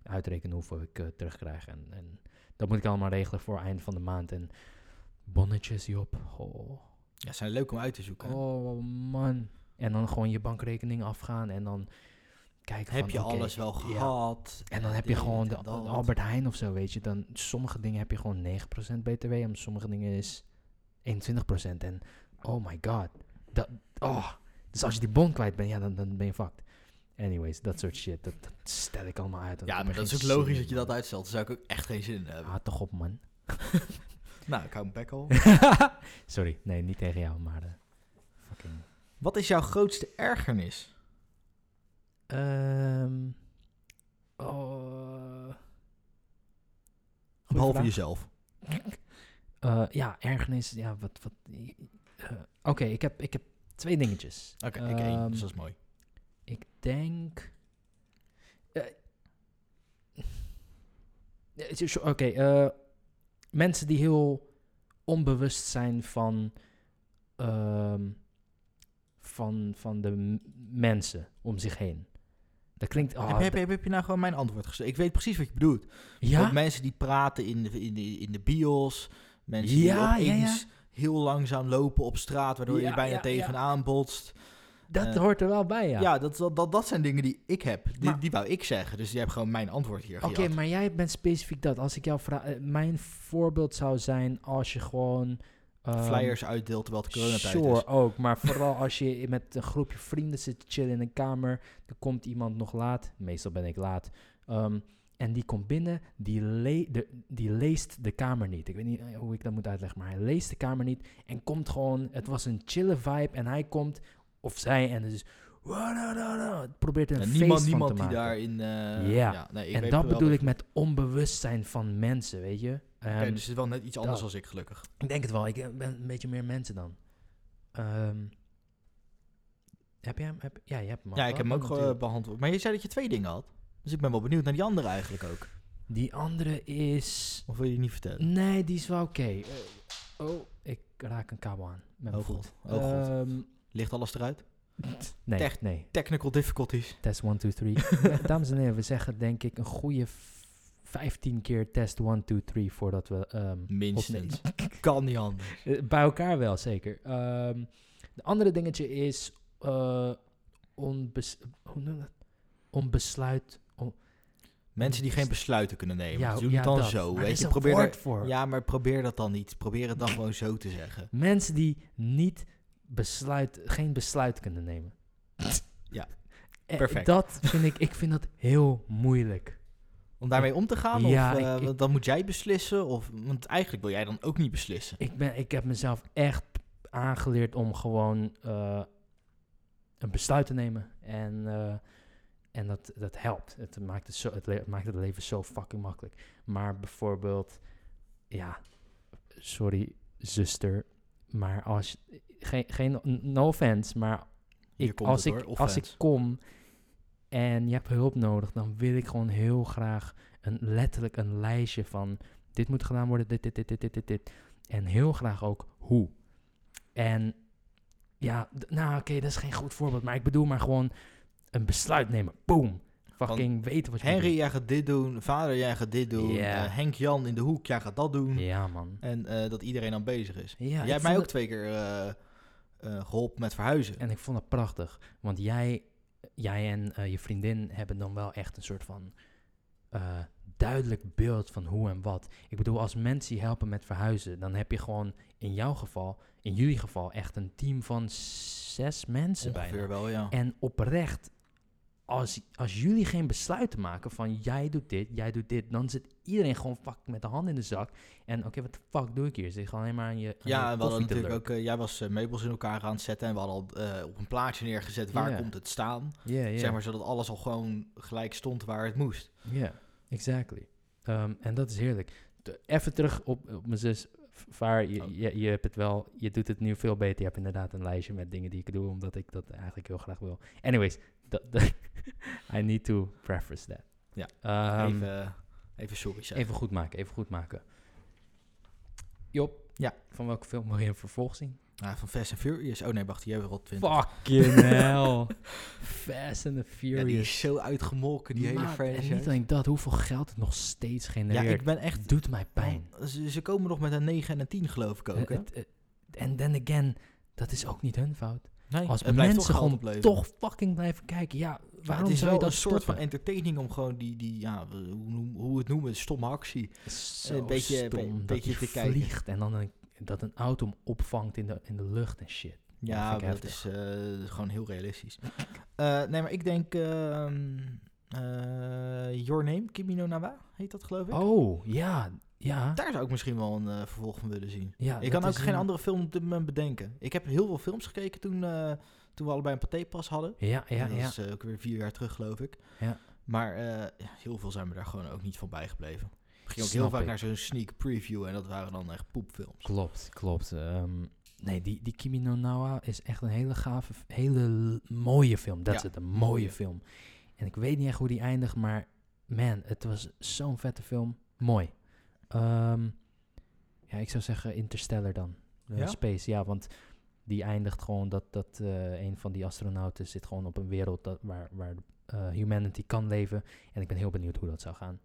B: uitrekenen hoeveel ik eh, terugkrijg. En, en dat moet ik allemaal regelen voor eind van de maand. En bonnetjes, Job. Oh.
A: Ja, zijn leuk om uit te zoeken.
B: Oh man. En dan gewoon je bankrekening afgaan en dan kijken
A: heb
B: van,
A: je
B: oké,
A: alles wel
B: ja.
A: gehad?
B: En dan heb je
A: dit
B: gewoon
A: en
B: de
A: dat.
B: de Albert Heijn of zo, weet je. Dan sommige dingen heb je gewoon 9% BTW en sommige dingen is 21%. En oh my god. Dat, oh. Dus als je die bon kwijt bent, ja, dan, dan ben je fucked. Anyways, dat soort shit, dat, dat stel ik allemaal uit. want ik
A: Ja,
B: heb
A: maar
B: er
A: dat is
B: geen
A: ook
B: zin
A: logisch
B: in,
A: dat je
B: man.
A: dat uitstelt. Daar zou ik ook echt geen zin in hebben.
B: Haat toch op, man.
A: Nou, ik hou hem bek al.
B: Sorry, nee, niet tegen jou, maar... eh, fucking...
A: Wat is jouw grootste ergernis?
B: Ehm
A: eh,
B: oh.
A: Behalve
B: vraag.
A: jezelf.
B: Eh, ja, ergernis. Ja, wat. wat eh, eh, Oké, ik, heb, ik heb Twee dingetjes.
A: Oké, ik één,
B: Ehm,
A: dus dat is mooi.
B: Ik denk. Eh, het is- Oké, eh, mensen die heel onbewust zijn van, ehm, van, van de m- mensen om zich heen. Dat klinkt. ah,
A: heb, heb, heb, heb je nou gewoon mijn antwoord gezegd? Ik weet precies wat je bedoelt.
B: dat- ja?
A: Ook mensen die praten in de, in de, in de bios. Mensen
B: Ja, ja,
A: die
B: ja.
A: opeens heel langzaam lopen op straat, waardoor je
B: Ja,
A: er bijna
B: ja,
A: tegenaan botst.
B: dat
A: eh,
B: hoort er wel bij, ja.
A: Ja, dat, dat, dat, dat zijn dingen die ik heb. Die,
B: Maar-
A: die wou ik zeggen. Dus jij hebt gewoon mijn antwoord hier
B: Oké,
A: gejat.
B: maar jij bent specifiek dat. Als ik jou vraag. eh, mijn voorbeeld zou zijn als je gewoon. ehm,
A: Flyers uitdeelt terwijl het coronatijd
B: sure,
A: is.
B: ook. Maar vooral als je met een groepje vrienden zit te chillen in een kamer. Er komt iemand nog laat. Meestal ben ik laat. ehm, en die komt binnen. Die, le- de- die leest de kamer niet. Ik weet niet eh, hoe ik dat moet uitleggen. Maar hij leest de kamer niet. En komt gewoon... Het was een chille vibe. En hij komt... Of zij. En het is... Probeert er een
A: En
B: feest
A: niemand
B: van
A: niemand
B: te
A: die
B: maken.
A: daarin... eh
B: Ja.
A: nee, ik
B: en
A: weet
B: dat
A: wel
B: bedoel
A: wat-
B: ik met onbewustzijn van mensen, weet je?
A: Oké,
B: Ehm,
A: dus het is wel net iets anders
B: dat.
A: als ik, gelukkig.
B: ik denk het wel. Ik eh, ben een beetje meer mensen dan. Ehm, heb jij hem? Heb, ja, je hebt hem. al
A: ja, ik heb hem ook
B: gehad,
A: gewoon
B: natuurlijk.
A: eh, behandeld. Maar je zei dat je twee dingen had. Dus ik ben wel benieuwd naar die andere eigenlijk ook.
B: Die andere is...
A: Of wil je die niet vertellen?
B: Nee, die is wel oké. Eh, oh, ik raak een kabel aan. Met mijn
A: Oh god,
B: voet.
A: oh god.
B: Ehm,
A: Ligt alles eruit?
B: nee,
A: Tech-
B: nee.
A: Technical difficulties.
B: Test 1, 2, 3. Eh, Dames en heren, we zeggen denk ik een goede v- 15 keer test 1, 2, 3 voordat we... ehm,
A: Minstens. Kan niet anders.
B: Eh, Bij elkaar wel, zeker. Ehm de andere dingetje is eh, onbes hoe noem je dat? onbesluit.
A: Mensen die geen besluiten kunnen nemen.
B: Ja,
A: Ja, Doe
B: ja,
A: het dan
B: dat.
A: zo.
B: Maar er
A: Weet
B: is
A: je,
B: een
A: probeer
B: woord
A: er-
B: voor.
A: Ja, maar probeer dat dan niet. Probeer het dan gewoon zo te zeggen.
B: Mensen die niet besluit, geen besluit kunnen nemen.
A: Ja,
B: Eh,
A: perfect.
B: Dat vind ik, ik vind dat heel moeilijk.
A: Om daarmee om te gaan?
B: Ja,
A: of, eh,
B: ik- ik-
A: want dan moet jij beslissen? Of, want eigenlijk wil jij dan ook niet beslissen.
B: Ik, ben, ik heb mezelf echt aangeleerd om gewoon eh, een besluit te nemen. En, eh, en dat, dat helpt. Het maakt het, zo, het, le- het maakt het leven zo fucking makkelijk. Maar bijvoorbeeld, ja, sorry zuster, maar als je- geen, geen no offense, maar
A: Hier
B: ik,
A: komt
B: als,
A: het,
B: ik,
A: hoor,
B: als ik
A: offense.
B: kom en je hebt hulp nodig, dan wil ik gewoon heel graag een, letterlijk een lijstje van dit moet gedaan worden, dit, dit, dit, dit, dit, dit, dit. En heel graag ook hoe. En ja, d- nou oké, dat is geen goed voorbeeld, maar ik bedoel maar gewoon een besluit nemen. Boom. Fucking weten wat je moet
A: Henry, jij gaat dit doen. Vader, jij gaat dit doen.
B: Ja.
A: Henk-Jan in de hoek, jij gaat dat doen.
B: doen. Ja, man.
A: En eh, dat iedereen dan bezig is.
B: Ja, ik
A: jij hebt
B: vond
A: mij ook
B: het-
A: twee keer eh, eh, geholpen met verhuizen.
B: En ik vond het prachtig. Want jij, jij en eh, je vriendin hebben dan wel echt een soort van eh, duidelijk beeld van hoe en wat. Ik bedoel, als mensen je helpen met verhuizen, dan heb je gewoon in jouw geval, in jullie geval, echt een team van zes mensen bij.
A: Ongeveer wel, ja.
B: En oprecht, als, als jullie geen besluiten maken van jij doet dit, jij doet dit, dan zit iedereen gewoon fuck met de hand in de zak. En oké, wat de fuck doe ik hier? Zit gewoon alleen maar aan je. aan
A: Ja,
B: je
A: en we hadden
B: eh, koffie te
A: natuurlijk
B: lurken.
A: ook... eh, jij was eh, meubels in elkaar aan het zetten. En we hadden al eh, op een plaatje neergezet waar
B: Ja.
A: komt het staan.
B: Ja, ja.
A: Zeg maar, zodat alles al gewoon gelijk stond waar het moest.
B: Ja, exactly. Ehm, en dat is heerlijk. Te- Even terug op, op mijn zus. V- Vaar, je,
A: Oh.
B: je, je hebt het wel, je doet het nu veel beter. Je hebt inderdaad een lijstje met dingen die ik doe, omdat ik dat eigenlijk heel graag wil. Anyways, dat- dat- I need to preface that.
A: Ja,
B: Ehm,
A: even, eh, even sorry zeggen.
B: even goed maken, even goed maken. Job,
A: Ja.
B: van welke film wil je een vervolg zien?
A: Ah, van Fast and Furious. Oh nee, wacht, die hebben we al twintig.
B: Fucking hell. Fast and
A: Ja,
B: the
A: die
B: Furious.
A: is zo uitgemolken, die hele
B: Maat, En niet
A: franchise.
B: alleen dat, hoeveel geld het nog steeds
A: Ja,
B: genereert.
A: ik ben echt... Oh,
B: doet mij pijn. Eh,
A: Ze, ze komen nog met een 9 en een 10, geloof ik ook. hè?
B: Het- het- En then again, dat is ook niet hun fout.
A: Nee,
B: Als
A: het blijft
B: mensen
A: geld
B: gewoon
A: opleveren.
B: toch fucking blijven kijken, ja, waarom
A: het is
B: zou
A: wel
B: je dat
A: een soort van
B: stoppen?
A: entertaining om gewoon die, die ja, hoe, noem- hoe we het noemen, stomme actie.
B: Zo
A: een beetje-
B: stom
A: een
B: dat
A: beetje
B: hij
A: te kijken.
B: vliegt en dan een, dat een auto hem opvangt in de, in de lucht en shit.
A: Ja,
B: vind ik
A: dat is eh, gewoon heel realistisch. Eh, nee, maar ik denk ehm, eh, Your Name, Kimi no Nawa, heet dat geloof ik.
B: Oh, ja, ja.
A: Daar zou ik misschien wel een eh, vervolg van willen zien.
B: ja
A: ik
B: dat
A: kan ook
B: is eh,
A: geen
B: een-
A: andere film op dit moment bedenken. Ik heb heel veel films gekeken toen, eh, toen we allebei een patépas hadden.
B: Ja, ja,
A: dat
B: ja.
A: is eh, ook weer vier jaar terug, geloof ik.
B: Ja.
A: Maar eh, ja, heel veel zijn we daar gewoon ook niet van bijgebleven. We gingen ook
B: Snap
A: heel vaak
B: ik.
A: naar zo'n sneak preview en dat waren dan echt poepfilms.
B: Klopt, klopt. Ehm, Nee, die, die Kimi no Nawa is echt een hele gave, hele l- mooie film. Dat is
A: Ja.
B: het, een mooie film. En ik weet niet echt hoe die eindigt, maar man, het was zo'n vette film. Mooi. Ehm, ja, ik zou zeggen Interstellar dan. Eh,
A: Ja?
B: Space, ja, want die eindigt gewoon dat, dat eh, een van die astronauten zit gewoon op een wereld dat, waar, waar eh, humanity kan leven. En ik ben heel benieuwd hoe dat zou gaan.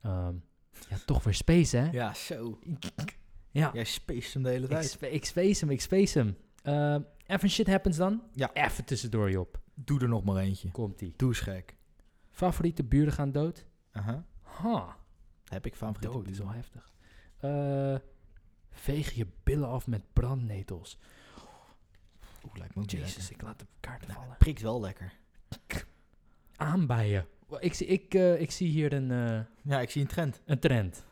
B: Ehm, ja, toch weer Space, hè?
A: Ja, zo.
B: ja.
A: Jij spaced hem de hele
B: Ik,
A: tijd.
B: sp- ik space hem, ik space hem. Eh, even shit happens dan.
A: Ja.
B: Even tussendoor, Job.
A: Doe er nog maar eentje.
B: Komt-ie.
A: Doe eens gek.
B: Favoriete buren gaan dood?
A: Aha.
B: Ha,
A: Heb ik favoriete
B: dood is
A: buren?
B: wel heftig. Eh, veeg je billen af met brandnetels.
A: Oh, Oeh, lijkt me ook niet
B: Jezus,
A: lekker.
B: ik laat de kaarten
A: Nou,
B: vallen.
A: het prikt wel lekker.
B: Aanbijen. Wa- Ik, zie- ik, eh, ik zie hier een, eh,
A: Ja, ik zie een trend.
B: een trend.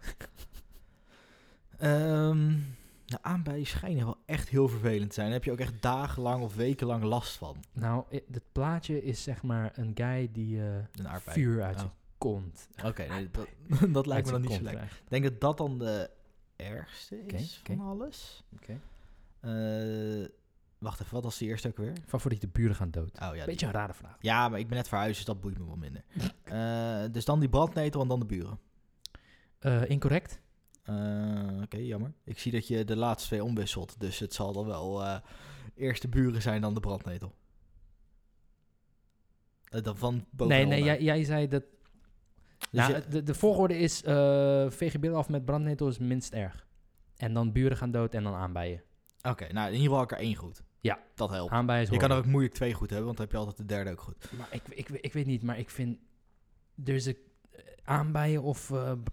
A: Ehm de aanbijen schijnen wel echt heel vervelend te zijn. Daar heb je ook echt dagenlang of wekenlang last van.
B: Nou, i- het plaatje is zeg maar een guy die eh,
A: Een aardbei.
B: vuur uit
A: Oh.
B: zijn kont.
A: Oké, nee, dat, dat lijkt me dan niet zo lekker.
B: Oké,
A: Ik denk dat dat dan de ergste
B: Oké,
A: is
B: oké.
A: van alles. Eh, wacht even, wat was de eerste ook weer?
B: Favoriete buren gaan dood.
A: Oh ja, die-
B: Beetje een rare vraag.
A: ja, maar ik ben net verhuisd, dus dat boeit me wel minder. Eh, dus dan die brandnetel en dan de buren.
B: Eh, incorrect?
A: Eh, Oké, jammer. Ik zie dat je de laatste twee omwisselt, dus het zal dan wel eh, eerst de buren zijn dan de brandnetel. Eh, dan van boven
B: Nee,
A: en
B: nee,
A: onder.
B: jij, jij zei dat.
A: Dus
B: nou,
A: je-
B: de, de volgorde is: eh veeg je billen af met brandnetel is minst erg. En dan buren gaan dood en dan aanbijen.
A: Oké, nou in ieder geval heb ik er één goed.
B: Ja.
A: Dat helpt.
B: Aanbijen is
A: Je kan er
B: horrible.
A: ook moeilijk twee goed hebben, want dan heb je altijd de derde ook goed.
B: Maar ik, ik, ik weet niet, maar ik vind. Er is een eh, aanbijen of eh, b-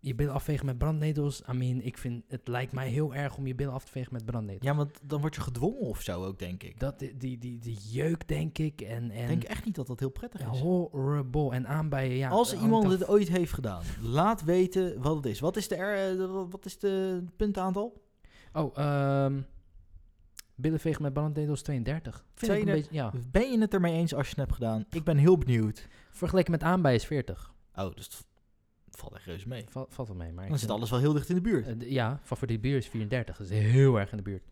B: je billen afvegen met brandnetels. I mean, ik vind het lijkt mij heel erg om je billen af te vegen met brandnetels.
A: Ja, want dan word je gedwongen of zo ook, denk ik.
B: Dat, die, die, die, die jeuk, denk ik. En, en
A: Ik denk echt niet dat dat heel prettig is.
B: horrible. En aanbijen, ja.
A: Als
B: hangt
A: iemand
B: af-
A: dit ooit heeft gedaan, laat weten wat het is. Wat is de, R, eh, de- wat is de puntaantal?
B: Oh, ehm billen vegen met brandnetels 32. Vind ik een
A: 32.
B: beetje, ja.
A: Ben je het ermee eens als je het hebt gedaan? Ik ben heel benieuwd.
B: Vergeleken met aanbij is 40.
A: Oh, dus het v- valt echt reuze mee.
B: Va- valt wel mee, maar... ik
A: Dan zit
B: vind-
A: alles wel heel dicht in de buurt.
B: eh, d- ja, favoriete bier is 34. Dat is heel erg in de buurt.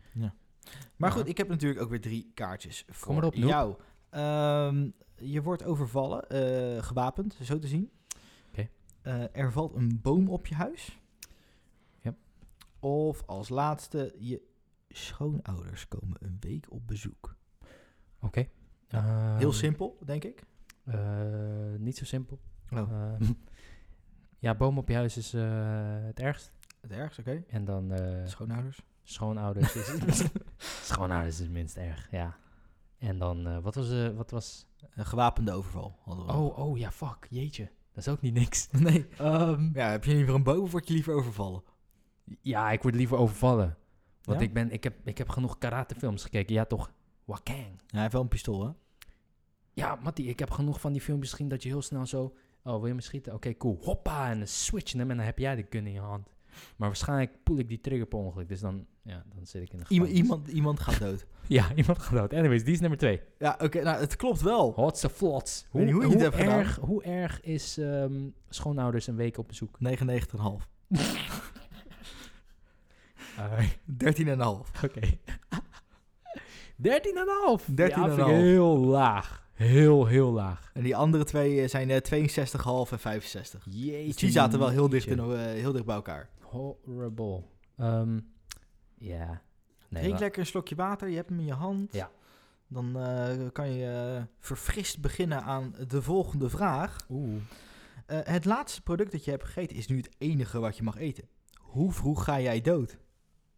A: Maar
B: ja.
A: goed, ik heb natuurlijk ook weer drie kaartjes voor
B: maar op, Noep.
A: jou. Ehm, je wordt overvallen, eh, gewapend, zo te zien.
B: Oké.
A: Eh, er valt een boom op je huis.
B: Ja.
A: Of als laatste, je schoonouders komen een week op bezoek.
B: Oké.
A: Heel
B: Ehm,
A: simpel, denk ik.
B: eh, niet zo simpel.
A: Oh.
B: Ehm, ja, boom op je huis is eh, het ergst.
A: Het ergste, oké.
B: En dan eh,
A: Schoonouders.
B: schoonouders is... schoonouders is het minst erg, ja. En dan, eh, wat was... eh, wat was...
A: Een gewapende overval hadden we. nog.
B: Oh, oh, ja, fuck. Jeetje. Dat is ook niet niks.
A: nee.
B: Ehm,
A: Ja, heb je liever een boom of word je liever overvallen?
B: ja, ik word liever overvallen. Want
A: Ja?
B: ik, ben, ik, heb, ik heb genoeg karatefilms gekeken. Ja, toch? Wakang.
A: Ja, hij heeft wel een pistool, hè?
B: Ja, Mattie, ik heb genoeg van die filmpjes gezien dat je heel snel zo... Oh, wil je me schieten? Oké, cool. Hoppa, en dan switch je hem en dan heb jij de gun in je hand. Maar waarschijnlijk poel ik die trigger per ongeluk. Dus dan, ja, dan zit ik in de
A: Iemand,
B: gevangenis.
A: iemand, iemand gaat dood.
B: Ja, iemand gedood. Anyways, die is nummer twee.
A: ja, oké. nou, het klopt wel.
B: Hotse flots.
A: weet niet hoe je dit hebt gedaan.
B: erg, hoe erg is ehm, schoonouders een week op bezoek?
A: 99,5. Ah, 13,5.
B: Oké. 13,5.
A: 13,5.
B: Ja, vind ik heel laag. Heel, heel laag.
A: En die andere twee eh, zijn eh, 62,5 en 65.
B: Jeetje.
A: Dus die zaten wel heel dicht,
B: mietje.
A: in, eh, heel dicht bij elkaar.
B: Horrible. Ehm, ja. Nee,
A: Drink
B: wa-
A: lekker een slokje water, je hebt hem in je hand.
B: Ja.
A: Dan eh, kan je eh, verfrist beginnen aan de volgende vraag.
B: Oeh.
A: Eh, het laatste product dat je hebt gegeten is nu het enige wat je mag eten. Hoe vroeg ga jij dood?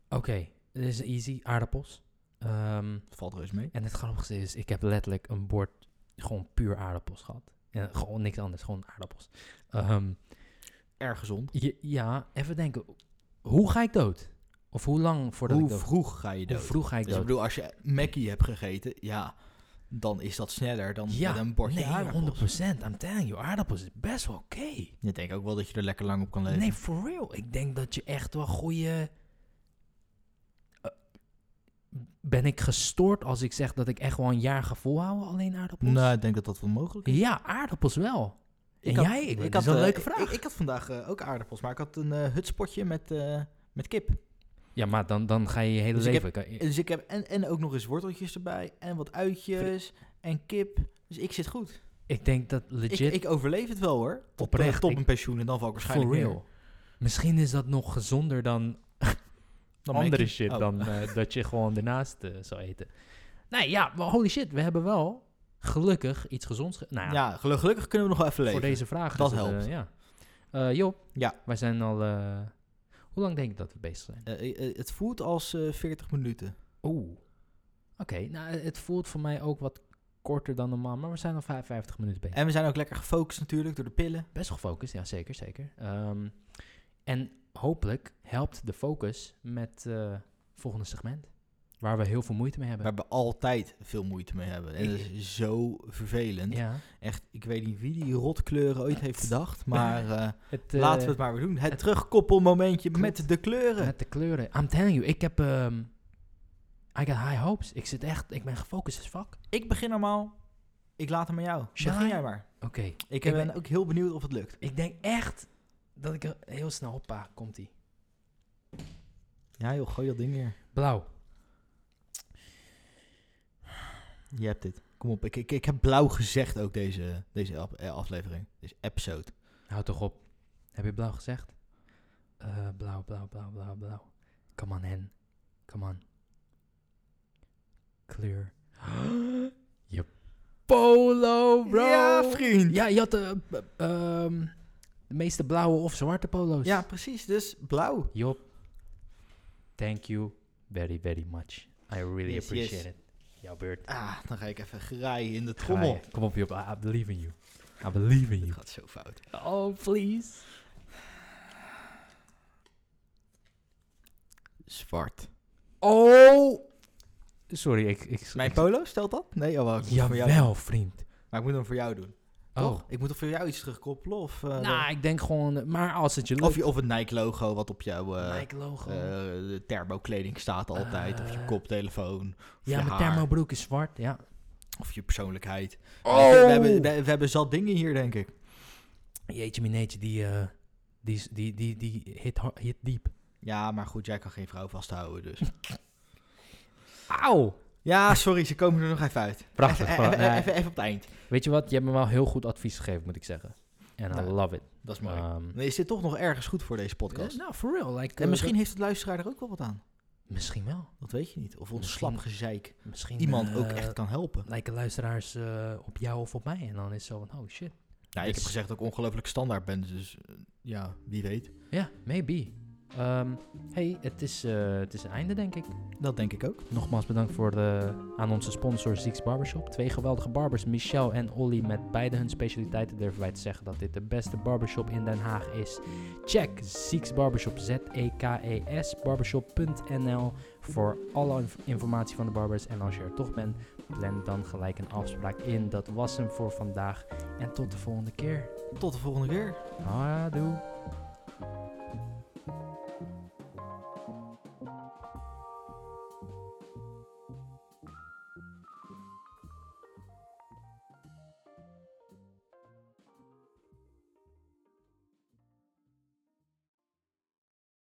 B: Oké, dit is easy. Aardappels. Ehm,
A: Valt reuze mee.
B: en het grappigste is, dus, ik heb letterlijk een bord gewoon puur aardappels gehad. En gewoon niks anders, gewoon aardappels. Ehm,
A: Erg gezond.
B: je- ja, even denken. Hoe ga ik dood? Of hoe lang voordat
A: Hoe
B: ik dood
A: vroeg ga je dood?
B: Hoe vroeg ga ik
A: dus ik
B: dood?
A: bedoel, als je Mackie hebt gegeten, ja, dan is dat sneller dan
B: Ja,
A: met een bordje
B: nee,
A: aardappels.
B: 100%. I'm telling you, aardappels is best wel oké.
A: Ik denk ook wel dat je er lekker lang op kan leven.
B: Nee, for real. Ik denk dat je echt wel goede. Ben ik gestoord als ik zeg dat ik echt wel een jaar ga volhouden alleen aardappels?
A: Nou, ik denk dat dat wel mogelijk is.
B: Ja, aardappels wel. En
A: had-
B: jij? Ik, dat is
A: had,
B: een
A: eh,
B: leuke
A: ik-
B: vraag.
A: Ik, ik had vandaag eh, ook aardappels, maar ik had een eh, hutspotje met, eh, met kip.
B: Ja, maar dan, dan ga je je hele
A: Dus ik
B: leven... kan je-
A: Dus ik heb en, en ook nog eens worteltjes erbij en wat uitjes en kip. Dus ik zit goed.
B: ik denk dat
A: Ik,
B: legit...
A: ik overleef het wel hoor. Tot, eh,
B: Oprecht,
A: tot
B: ik-
A: mijn pensioen en dan val ik waarschijnlijk
B: For real.
A: neer.
B: Misschien is dat nog gezonder dan,
A: Dan ben ik
B: andere
A: niet-
B: shit
A: oh.
B: dan eh, dat je gewoon ernaast eh, zou eten. Nee, ja, maar holy shit, we hebben wel gelukkig iets gezonds. ge- nou ja,
A: Ja, gelu- gelukkig kunnen we nog wel even leven.
B: voor deze vraag.
A: Dat
B: is het, eh,
A: helpt.
B: ja. Eh, Job,
A: Ja.
B: wij zijn al... eh, hoe lang denk ik dat we bezig zijn?
A: Eh, eh, het voelt als eh 40 minuten.
B: Oeh. Oké, nou, het voelt voor mij ook wat korter dan normaal, maar we zijn al 55 minuten bezig.
A: En we zijn ook lekker gefocust natuurlijk door de pillen.
B: Best gefocust, ja, zeker, zeker. Ehm, en hopelijk helpt de focus met eh, volgende segment, waar we heel veel moeite mee hebben.
A: Waar we altijd veel moeite mee hebben. En dat is zo vervelend.
B: Ja,
A: Echt, ik weet niet wie die rotkleuren ooit heeft bedacht. Maar eh,
B: het,
A: laten we
B: eh,
A: het maar weer doen. Het,
B: het-
A: terugkoppelmomentje met
B: Klopt.
A: de kleuren.
B: eh, Met de kleuren. I'm telling you, ik heb... ehm, I got high hopes. Ik zit echt... Ik ben gefocust as fuck.
A: Ik begin normaal. Ik laat hem aan jou.
B: Ja.
A: Begin jij maar.
B: Oké.
A: Ik
B: Ik
A: ben
B: ben-
A: ook heel benieuwd of het lukt.
B: Ik denk echt dat ik er heel snel... Hoppa, komt-ie.
A: Ja joh, gooi dat ding weer.
B: Blauw.
A: Je hebt dit. Kom op, ik, ik, ik heb blauw gezegd ook deze, deze ap- eh, aflevering. Deze episode.
B: Hou toch op. Heb je blauw gezegd? Eh, blauw, blauw, blauw, blauw, blauw. Come on, hen. Come on. Kleur. Je polo, bro.
A: Ja vriend!
B: Ja, je had eh, b- ehm, de meeste blauwe of zwarte polo's.
A: Ja, precies. Dus blauw.
B: Job, thank you very, very much. I really
A: Yes,
B: appreciate
A: yes.
B: it. Jouw beurt.
A: Ah, dan ga ik even graaien in de trommel.
B: Ga je. Kom op, Job. I, I believe in you. I believe in
A: Dit
B: you.
A: gaat zo fout.
B: Oh, please.
A: Zwart.
B: Oh! Sorry, ik... ik
A: Mijn
B: ik-
A: polo, stelt dat? Nee, oh, wel, ik moet hem voor jou
B: Jawel, vriend.
A: doen. Maar ik moet hem voor jou doen.
B: Oh.
A: Toch? Ik moet er voor jou iets terugkoppelen? Of, eh,
B: Nou, ik denk gewoon... eh, Maar als het je
A: de-
B: lukt...
A: of, je, of het Nike-logo wat op jouw eh
B: Nike logo.
A: eh, de thermokleding staat altijd. of je
B: Eh.
A: koptelefoon. Of
B: ja,
A: je
B: mijn
A: haar.
B: thermobroek is zwart, ja.
A: Of je persoonlijkheid.
B: Oh.
A: Weet je, We, hebben, we, we hebben zat dingen hier, denk ik.
B: Jeetje mineetje, die, eh, die, is- die, die, die hit, har- hit diep.
A: Ja, maar goed, jij kan geen vrouw vasthouden, dus.
B: Auw!
A: ja, sorry, ze komen er nog even uit.
B: Prachtig.
A: Even, even,
B: Nee.
A: even, even op het eind.
B: Weet je wat? Je hebt me wel heel goed advies gegeven, moet ik zeggen. En I
A: Nou,
B: love it.
A: Dat is mooi.
B: Ehm,
A: Nee, is dit toch nog ergens goed voor deze podcast?
B: eh, Nou, for real. Like, eh,
A: en misschien heeft het luisteraar er ook wel wat aan.
B: dat- misschien wel.
A: Dat weet je niet. Of ons
B: Misschien-
A: slap gezeik
B: Misschien
A: iemand
B: eh,
A: ook echt kan helpen.
B: Lijken luisteraars eh, op jou of op mij. En dan is het zo van, oh shit.
A: Nou, ik
B: dus-
A: heb gezegd dat ik ongelooflijk standaard ben, dus eh, ja, wie weet.
B: Ja, maybe. Ehm, hey, het is, eh, het is een einde, denk ik.
A: Dat denk ik ook.
B: Nogmaals bedankt voor de, aan onze sponsor Zieks Barbershop. Twee geweldige barbers, Michel en Olly, met beide hun specialiteiten durven wij te zeggen dat dit de beste barbershop in Den Haag is. Check Zieks Barbershop, E Z-E-K-E-S, barbershop.nl voor alle inf- informatie van de barbers. En als je er toch bent, plan dan gelijk een afspraak in. Dat was hem voor vandaag en tot de volgende keer.
A: Tot de volgende keer.
B: Houdoe.